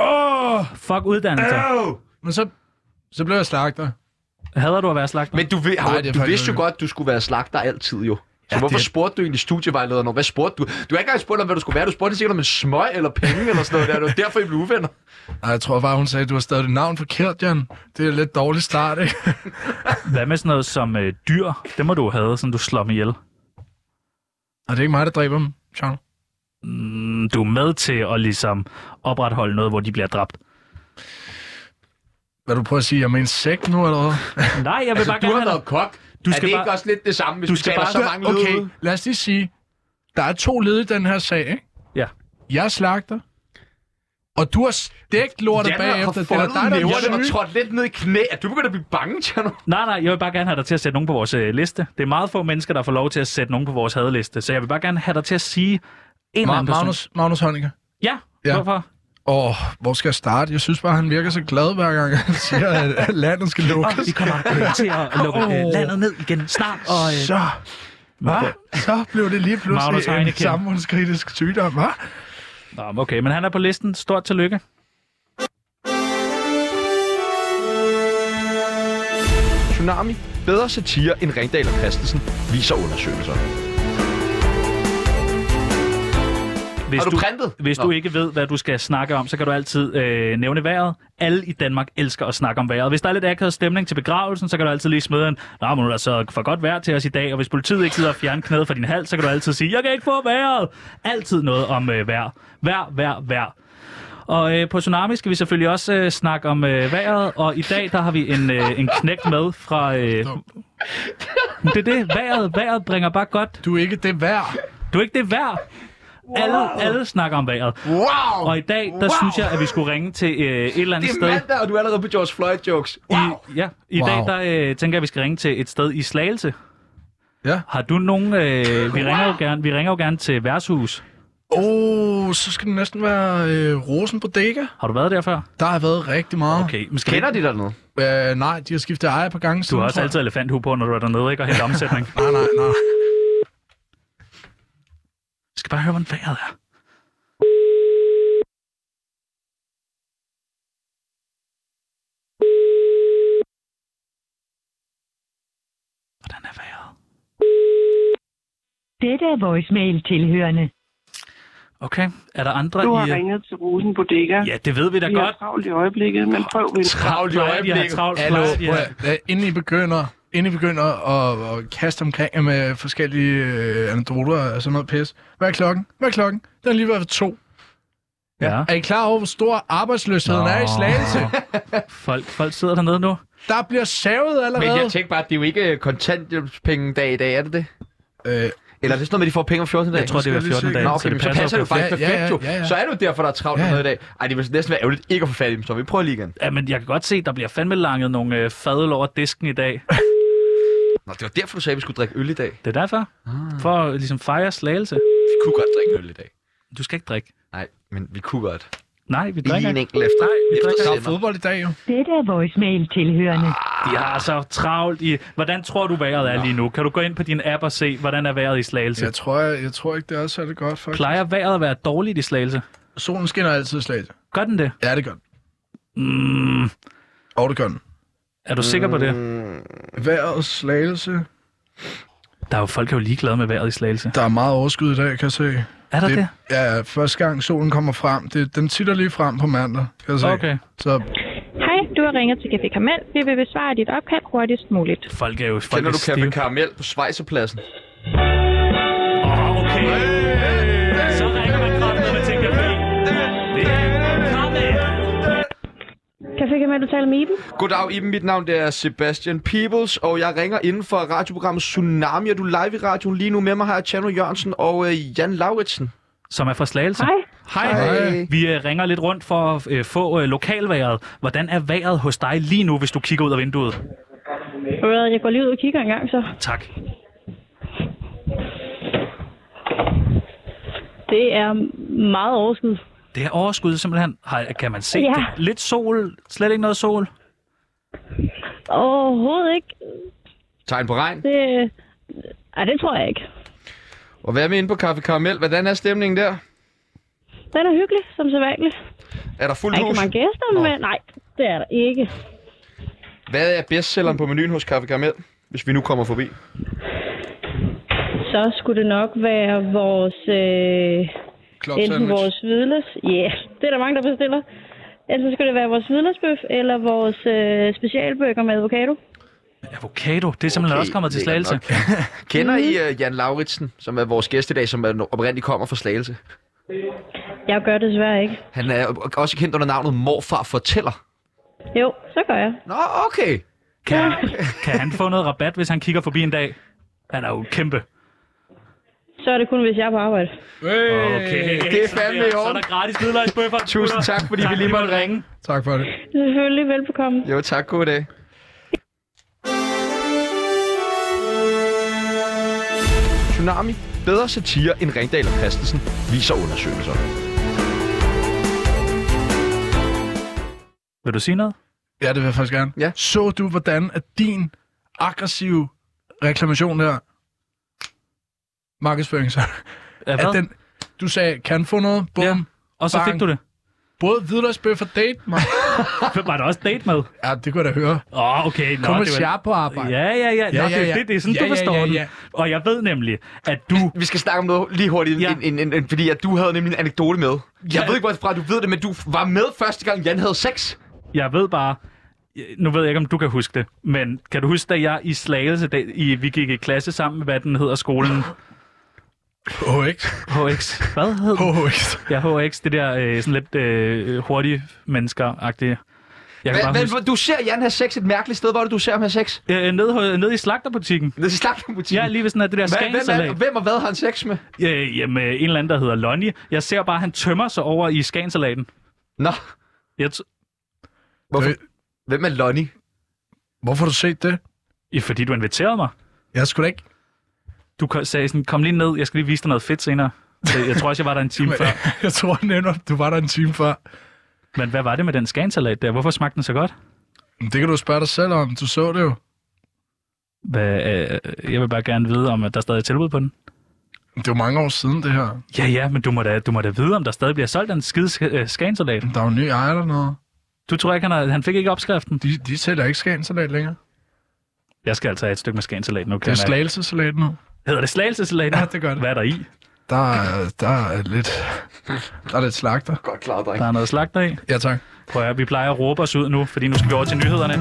A: Åh!
C: fuck uddannelser.
A: Øv! Men så, så blev jeg slagter.
C: Hader du at være slagter?
D: Men du, ved,
A: Nej,
D: Nej,
A: det er
D: du
A: faktisk
D: vidste jo
A: ikke.
D: godt, du skulle være slagter altid jo. Så ja, hvorfor
A: det-
D: det... spurgte du egentlig studievejlederen? om? Hvad spurgte du? Du har ikke engang spurgt om, hvad du skulle være. Du spurgte sikkert om en smøg eller penge eller sådan noget. Der. Det var derfor, I blev uvenner.
A: Ej, jeg tror bare, hun sagde, du har stadig dit navn forkert, Jan. Det er en lidt dårlig start, ikke?
C: Hvad med sådan noget som øh, dyr? Det må du have, sådan du slår dem ihjel.
A: Og det er ikke mig, der dræber dem, Sean.
C: Mm, du er med til at ligesom opretholde noget, hvor de bliver dræbt.
A: Hvad du prøver at sige? Jeg er med en sæk nu, eller hvad?
C: Nej, jeg vil bare
D: Altså, Du
C: gerne
D: har
C: have
D: været kok.
C: Du
D: Du
C: skal
D: skal er det
C: bare-
D: ikke også lidt det samme, hvis
C: Du
D: du
C: skal
D: skal vi taler
C: bare-
D: så mange okay.
A: Okay, lad os lige sige, der er to led i den her sag, ikke?
C: Ja.
A: Jeg er slagter, og du har stegt lortet bagefter. Det er dig, der
D: næverne og
A: er syg.
D: trådt lidt ned i knæ. Er du begyndt at blive bange, Tjerno?
C: Nej, nej, jeg vil bare gerne have dig til at sætte nogen på vores øh, liste. Det er meget få mennesker, der får lov til at sætte nogen på vores hadeliste, så jeg vil bare gerne have dig til at sige en eller
A: Ma-
C: anden person.
A: Magnus, Magnus Honecker.
C: Ja,
A: Ja.
C: ja, hvorfor?
A: Åh, oh, hvor skal jeg starte? Jeg synes bare, han virker så glad hver gang, han siger, at- at landet skal lukkes.
C: Vi kommer øh, til at lukke øh, landet ned igen snart. Og, øh,
A: Så, hva? så blev det lige
C: Magnus
A: pludselig en
C: Heunicke.
A: samfundskritisk sygdom, hva?
C: Nå, men okay, men han er på listen. Stort tillykke.
D: Tsunami. Bedre satire end Ringdal og Christensen viser undersøgelser.
C: Hvis
D: Har du printet?
C: Hvis
D: Nå.
C: du ikke ved, hvad du skal snakke om, så kan du altid øh, nævne vejret. Alle i Danmark elsker at snakke om vejret. Hvis der er lidt akavet stemning til begravelsen, så kan du altid lige smide en, Nå, men nu er der så for godt vejr til os i dag, og hvis politiet ikke gider at fjerne knæet fra din hals, så kan du altid sige, jeg kan ikke få vejret. Altid noget om øh, vejr. Vejr, vejr, vejr. Og øh, på Tsunami skal vi selvfølgelig også øh, snakke om øh, vejret, og i dag der har vi en, øh, en knægt med fra... Øh, det er det, vejret, vejret bringer bare godt.
A: Du er ikke det værd.
C: Du er ikke det værd. Wow. Alle, alle snakker om vejret.
D: Wow!
C: Og i dag, der
D: Wow!
C: synes jeg, at vi skulle ringe til øh, et eller andet
D: Det er
C: sted.
D: mandag, og du er allerede på George Floyd-jokes. Wow!
C: I, ja, i
D: Wow.
C: wow. dag, der øh, tænker jeg, at vi skal ringe til et sted i Slagelse.
A: Ja.
C: Har du nogen... Øh, vi, ringer jo gerne, vi ringer jo gerne til Værtshus.
A: Åh, oh, så skal det næsten være øh, Rosen på Dækker.
C: Har du været der før?
A: Der har jeg været rigtig meget.
C: Okay, men skal vi- Kender de
D: dernede?
A: Øh, nej, de har skiftet ejer på gange
C: Du har altså- også altid elefanthue på, når du er dernede, ikke? Og helt omsætning.
A: nej, nej, nej.
C: Jeg skal bare høre, hvordan vejret er.
O: Dette er voicemail tilhørende.
C: Okay, er der andre
P: Du har
C: i... øh,
P: ringet til Rosen Bodega.
C: Ja, det ved vi da
P: vi
C: godt.
P: Vi har travlt i øjeblikket, men prøv ved
C: Travlt i Nej, de har øjeblikket. travlt.
A: Hallo,
C: Nej, de
A: prøv
C: er-
A: at- øh, inden I begynder, inden I begynder at, at kaste omkring jer med forskellige øh, anekdoter og sådan noget pis. Hvad er klokken? Hvad er klokken? Den er lige været to.
C: Ja.
A: Er I klar over, hvor stor arbejdsløsheden Nå. er i Slagelse?
C: Folk, folk sidder dernede nu.
A: Der bliver savet allerede.
D: Men jeg tænker bare, at det er jo ikke øh, kontanthjælpspenge dag i dag, er det det?
A: Øh, Eller
D: er det sådan noget med, de får penge om 14 dage?
C: Jeg tror, det er hver 14 dage,
D: Nå,
C: så
D: okay,
C: det
D: men så
C: passer
D: passer det jo
C: jo
D: faktisk
C: perfekt. Ja,
D: perfekt, jo.
C: ja, ja, ja.
D: Så er det jo derfor, der er travlt
C: Ja,
D: ja,
C: ja.
D: noget i dag. Ej, det vil næsten være ærgerligt ikke at få fat i dem, så vi prøver lige igen.
C: Ja, men jeg kan godt se, der bliver fandme langet nogle øh, fadøl over disken i dag.
D: Nå, det var derfor, du sagde, at vi skulle drikke øl i dag.
C: Det er derfor. Ah. For at ligesom fejre slagelse.
D: Vi kunne godt drikke øl i dag.
C: Du skal ikke drikke.
D: Nej, men vi kunne godt.
C: Nej, vi drikker
D: Lige en
C: ikke.
D: enkelt efter.
C: Nej, vi
D: efter
C: drikker
D: sender.
C: ikke.
A: fodbold i dag jo.
O: Dette er voicemail tilhørende.
C: De har så travlt i... Hvordan tror du, vejret er lige nu? Kan du gå ind på din app og se, hvordan er vejret i slagelse?
A: Jeg tror, jeg, jeg tror ikke, det er særlig godt, faktisk.
C: Plejer vejret at være dårligt i slagelse?
A: Solen skinner altid i slagelse.
C: Gør den det?
A: Ja, det gør den.
C: Mm.
A: Og det gør den.
C: Er du sikker på det?
D: Mm.
A: Vejrets slagelse.
C: Der er jo folk er jo ligeglade med vejret i slagelse.
A: Der er meget overskud i dag, kan jeg se.
C: Er der det?
A: Ja, første gang solen kommer frem. Det, den titter lige frem på mandag, kan jeg se.
C: Okay.
A: Så
Q: Hej, du har ringet til Café Karamel. Vi vil besvare dit opkald hurtigst muligt.
C: Folk er jo folk
D: Kender
C: er
D: du Café
C: stive.
D: Karamel på Schweizerpladsen?
C: Så ringer man kraften med til café. Det er
Q: Café Karamel, du taler med Iben.
D: Goddag Iben, mit navn det er Sebastian Peebles, og jeg ringer inden for radioprogrammet Tsunami, og du er live i radioen lige nu. Med mig har jeg Tjerno Jørgensen og øh, Jan Lauritsen.
C: Som er fra Slagelse.
Q: Hej.
C: Hej.
D: Hej.
C: Vi øh, ringer lidt rundt for at øh, få øh, lokalværet. Hvordan er vejret hos dig lige nu, hvis du kigger ud af vinduet?
Q: Ved du hvad, Jeg går lige ud og kigger en gang, så.
C: Tak.
Q: Det er meget overskud.
C: Det her overskud simpelthen, har, kan man se
Q: Ja.
C: det? Lidt sol, slet ikke noget sol.
Q: Overhovedet ikke.
D: Tegn på regn.
Q: Det... Ej, det tror jeg ikke.
D: Og hvad med inde på Café Karamel? Hvordan er stemningen der?
Q: Den er hyggelig, som sædvanligt.
D: Er der fuldt
Q: Der er
D: hus?
Q: ikke mange gæster, Nå. men nej, det er der ikke.
D: Hvad er bestselleren på menuen hos Café Karamel, hvis vi nu kommer forbi?
Q: Så skulle det nok være vores... Øh,
D: Club
Q: enten
D: sandwich.
Q: vores hvidløs... Ja, yeah, det er der mange, der bestiller. Enten så skulle det være vores hvidløsbøf, eller vores øh, specialbøger med avocado.
C: Avocado, det er simpelthen okay, også kommet til
D: lækkert
C: Slagelse.
D: nok. Kender I uh, Jan Lauritsen, som er vores gæst i dag, som er oprindeligt kommer fra Slagelse?
Q: Jeg gør det desværre ikke.
D: Han er op- også kendt under navnet Morfar Fortæller.
Q: Jo, så gør jeg.
D: Nå, okay.
C: Kan, han- kan han få noget rabat, hvis han kigger forbi en dag? Han er jo kæmpe.
Q: Så er det kun, hvis jeg er på arbejde.
C: Okay.
D: Det er
C: så
D: fandme i
C: Så er
D: orden.
C: der gratis hvidløgsbøffer.
D: Tusind tak, fordi vi lige måtte ringe.
A: Tak for det.
Q: Selvfølgelig, velbekomme.
D: Jo, tak. God dag. Tsunami. Bedre satire end Ringdal og Christensen, viser undersøgelser.
C: Vil du sige noget?
A: Ja, det vil jeg faktisk gerne.
D: Ja.
A: Så du, hvordan at din aggressive reklamation der, markedsføring så,
C: Ja,
A: at den, du sagde, kan få noget, bum, ja.
C: Og så fik du det.
A: Både hvidløgsbøf og date, mand.
C: Hvem var der også date med?
R: Ja, det kunne jeg da høre.
C: Åh, oh, okay. Nå,
R: Kom og
C: det var-
R: sharp på arbejde.
C: Ja, ja, ja. Nå,
R: Ja,
C: ja,
R: ja,
C: ja,
R: ja.
C: Det, det er sådan,
R: Ja,
C: du
R: ja,
C: forstår
R: ja,
C: ja, ja,
R: ja.
C: den. Og jeg ved nemlig, at du...
D: Vi skal snakke om noget lige hurtigt, ja.
C: Ja.
D: en, en, en, en, fordi at du havde nemlig en anekdote med. Jeg
C: Ja.
D: ved ikke, hvorfra du ved det, men du var med første gang, Jan havde sex.
C: Jeg ved bare... Nu ved jeg ikke, om du kan huske det, men kan du huske, da jeg i Slagelse, da i, vi gik i klasse sammen, hvad den hedder skolen?
R: HX.
C: HX. Hvad hed
R: den? HX.
C: Ja, HX. Det der øh, sådan lidt øh, hurtige mennesker-agtige. Jeg kan
D: Hva,
C: bare huske...
D: hva, du ser Jan have sex et mærkeligt sted. Hvor er det, du ser ham have sex?
C: Øh, nede, ho- nede i slagterbutikken.
D: Nede i slagterbutikken?
C: Ja, lige ved sådan at det der
D: Hva- hvem,
C: skansalat.
D: er, hvem og hvad har han sex med?
C: Øh, jamen, øh, en eller anden, der hedder Lonnie. Jeg ser bare, at han tømmer sig over i skansalaten.
D: Nå.
C: Jeg t-
D: Hvorfor? Hvem er Lonnie?
R: Hvorfor har du set det?
C: Ja, fordi du inviterede mig.
R: Jeg skulle ikke.
C: Du ko- sagde sådan, kom lige ned, jeg skal lige vise dig noget fedt senere. Så Jeg tror også, jeg var der en time før.
R: jeg tror nemlig, du var der en time før.
C: Men hvad var det med den skansalat der? Hvorfor smagte den så godt?
R: Men det kan du spørge dig selv om. Du så det jo.
C: Hvad, øh, jeg vil bare gerne vide, om at der stadig er tilbud på den.
R: Det er jo mange år siden, det her.
C: Ja, ja, men du må da, du må da vide, om der stadig bliver solgt en skide sk- øh, skansalat.
R: Der er jo en ny ejer dernede.
C: Du tror ikke, han, har, han fik ikke opskriften?
R: De, de sælger ikke skansalat længere.
C: Jeg skal altså have et stykke med skansalat nu.
R: Det er slagelsesalat nu.
C: Hedder det slagelsesalat? Ja,
R: det gør det.
C: Hvad er der i?
R: Der er, der er lidt... Der er lidt slagter.
D: Godt klaret, dreng.
C: Der er noget slagter i.
R: Ja, tak.
C: Prøv at, høre, vi plejer at råbe os ud nu, fordi nu skal vi over til nyhederne.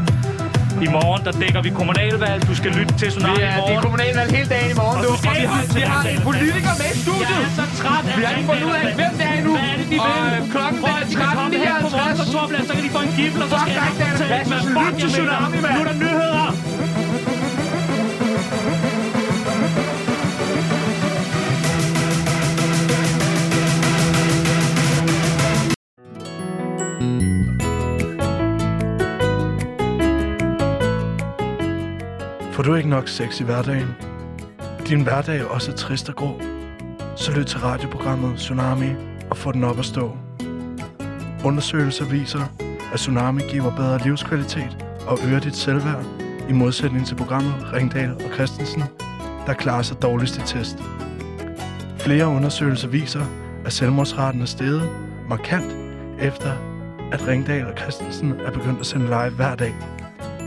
C: I morgen, der dækker vi kommunalvalg. Du skal lytte til Tsunami
D: Ja,
C: i morgen.
D: det er kommunalvalg hele dagen i morgen,
C: Og
D: du.
C: du skal
D: Og vi har,
C: altid
D: vi har en
C: have-
D: politiker med i studiet.
C: Jeg er så træt af
D: Vi har ikke fundet ud af, hvem det er endnu.
C: Hvad er det, de vil?
D: Og øh, klokken
C: Prøv
D: den er
C: at de kan komme her på vores
D: 13.59.
C: kontorplads, så kan de få en giffel, og så
D: Fuck,
C: skal
D: der er ikke
C: jeg
D: der er
C: tale
D: plads.
C: med
D: Lyt til Tsunami, mand.
C: Nu er der nyheder!
A: Får du ikke nok sex i hverdagen? Din hverdag er også trist og grå. Så lyt til radioprogrammet Tsunami og få den op at stå. Undersøgelser viser, at Tsunami giver bedre livskvalitet og øger dit selvværd, i modsætning til programmet Ringdal og Christensen, der klarer sig dårligst i test. Flere undersøgelser viser, at selvmordsraten er steget markant efter, at Ringdal og Christensen er begyndt at sende live hver dag.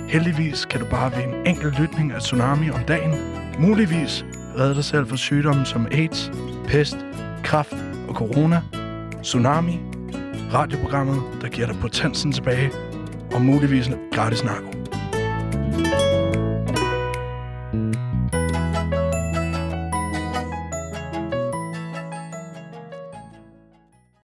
A: Heldigvis kan du bare ved en enkelt lytning af Tsunami om dagen muligvis redde dig selv fra sygdomme som AIDS, pest, kræft og corona. Tsunami, radioprogrammet, der giver dig potensen tilbage og muligvis gratis narko.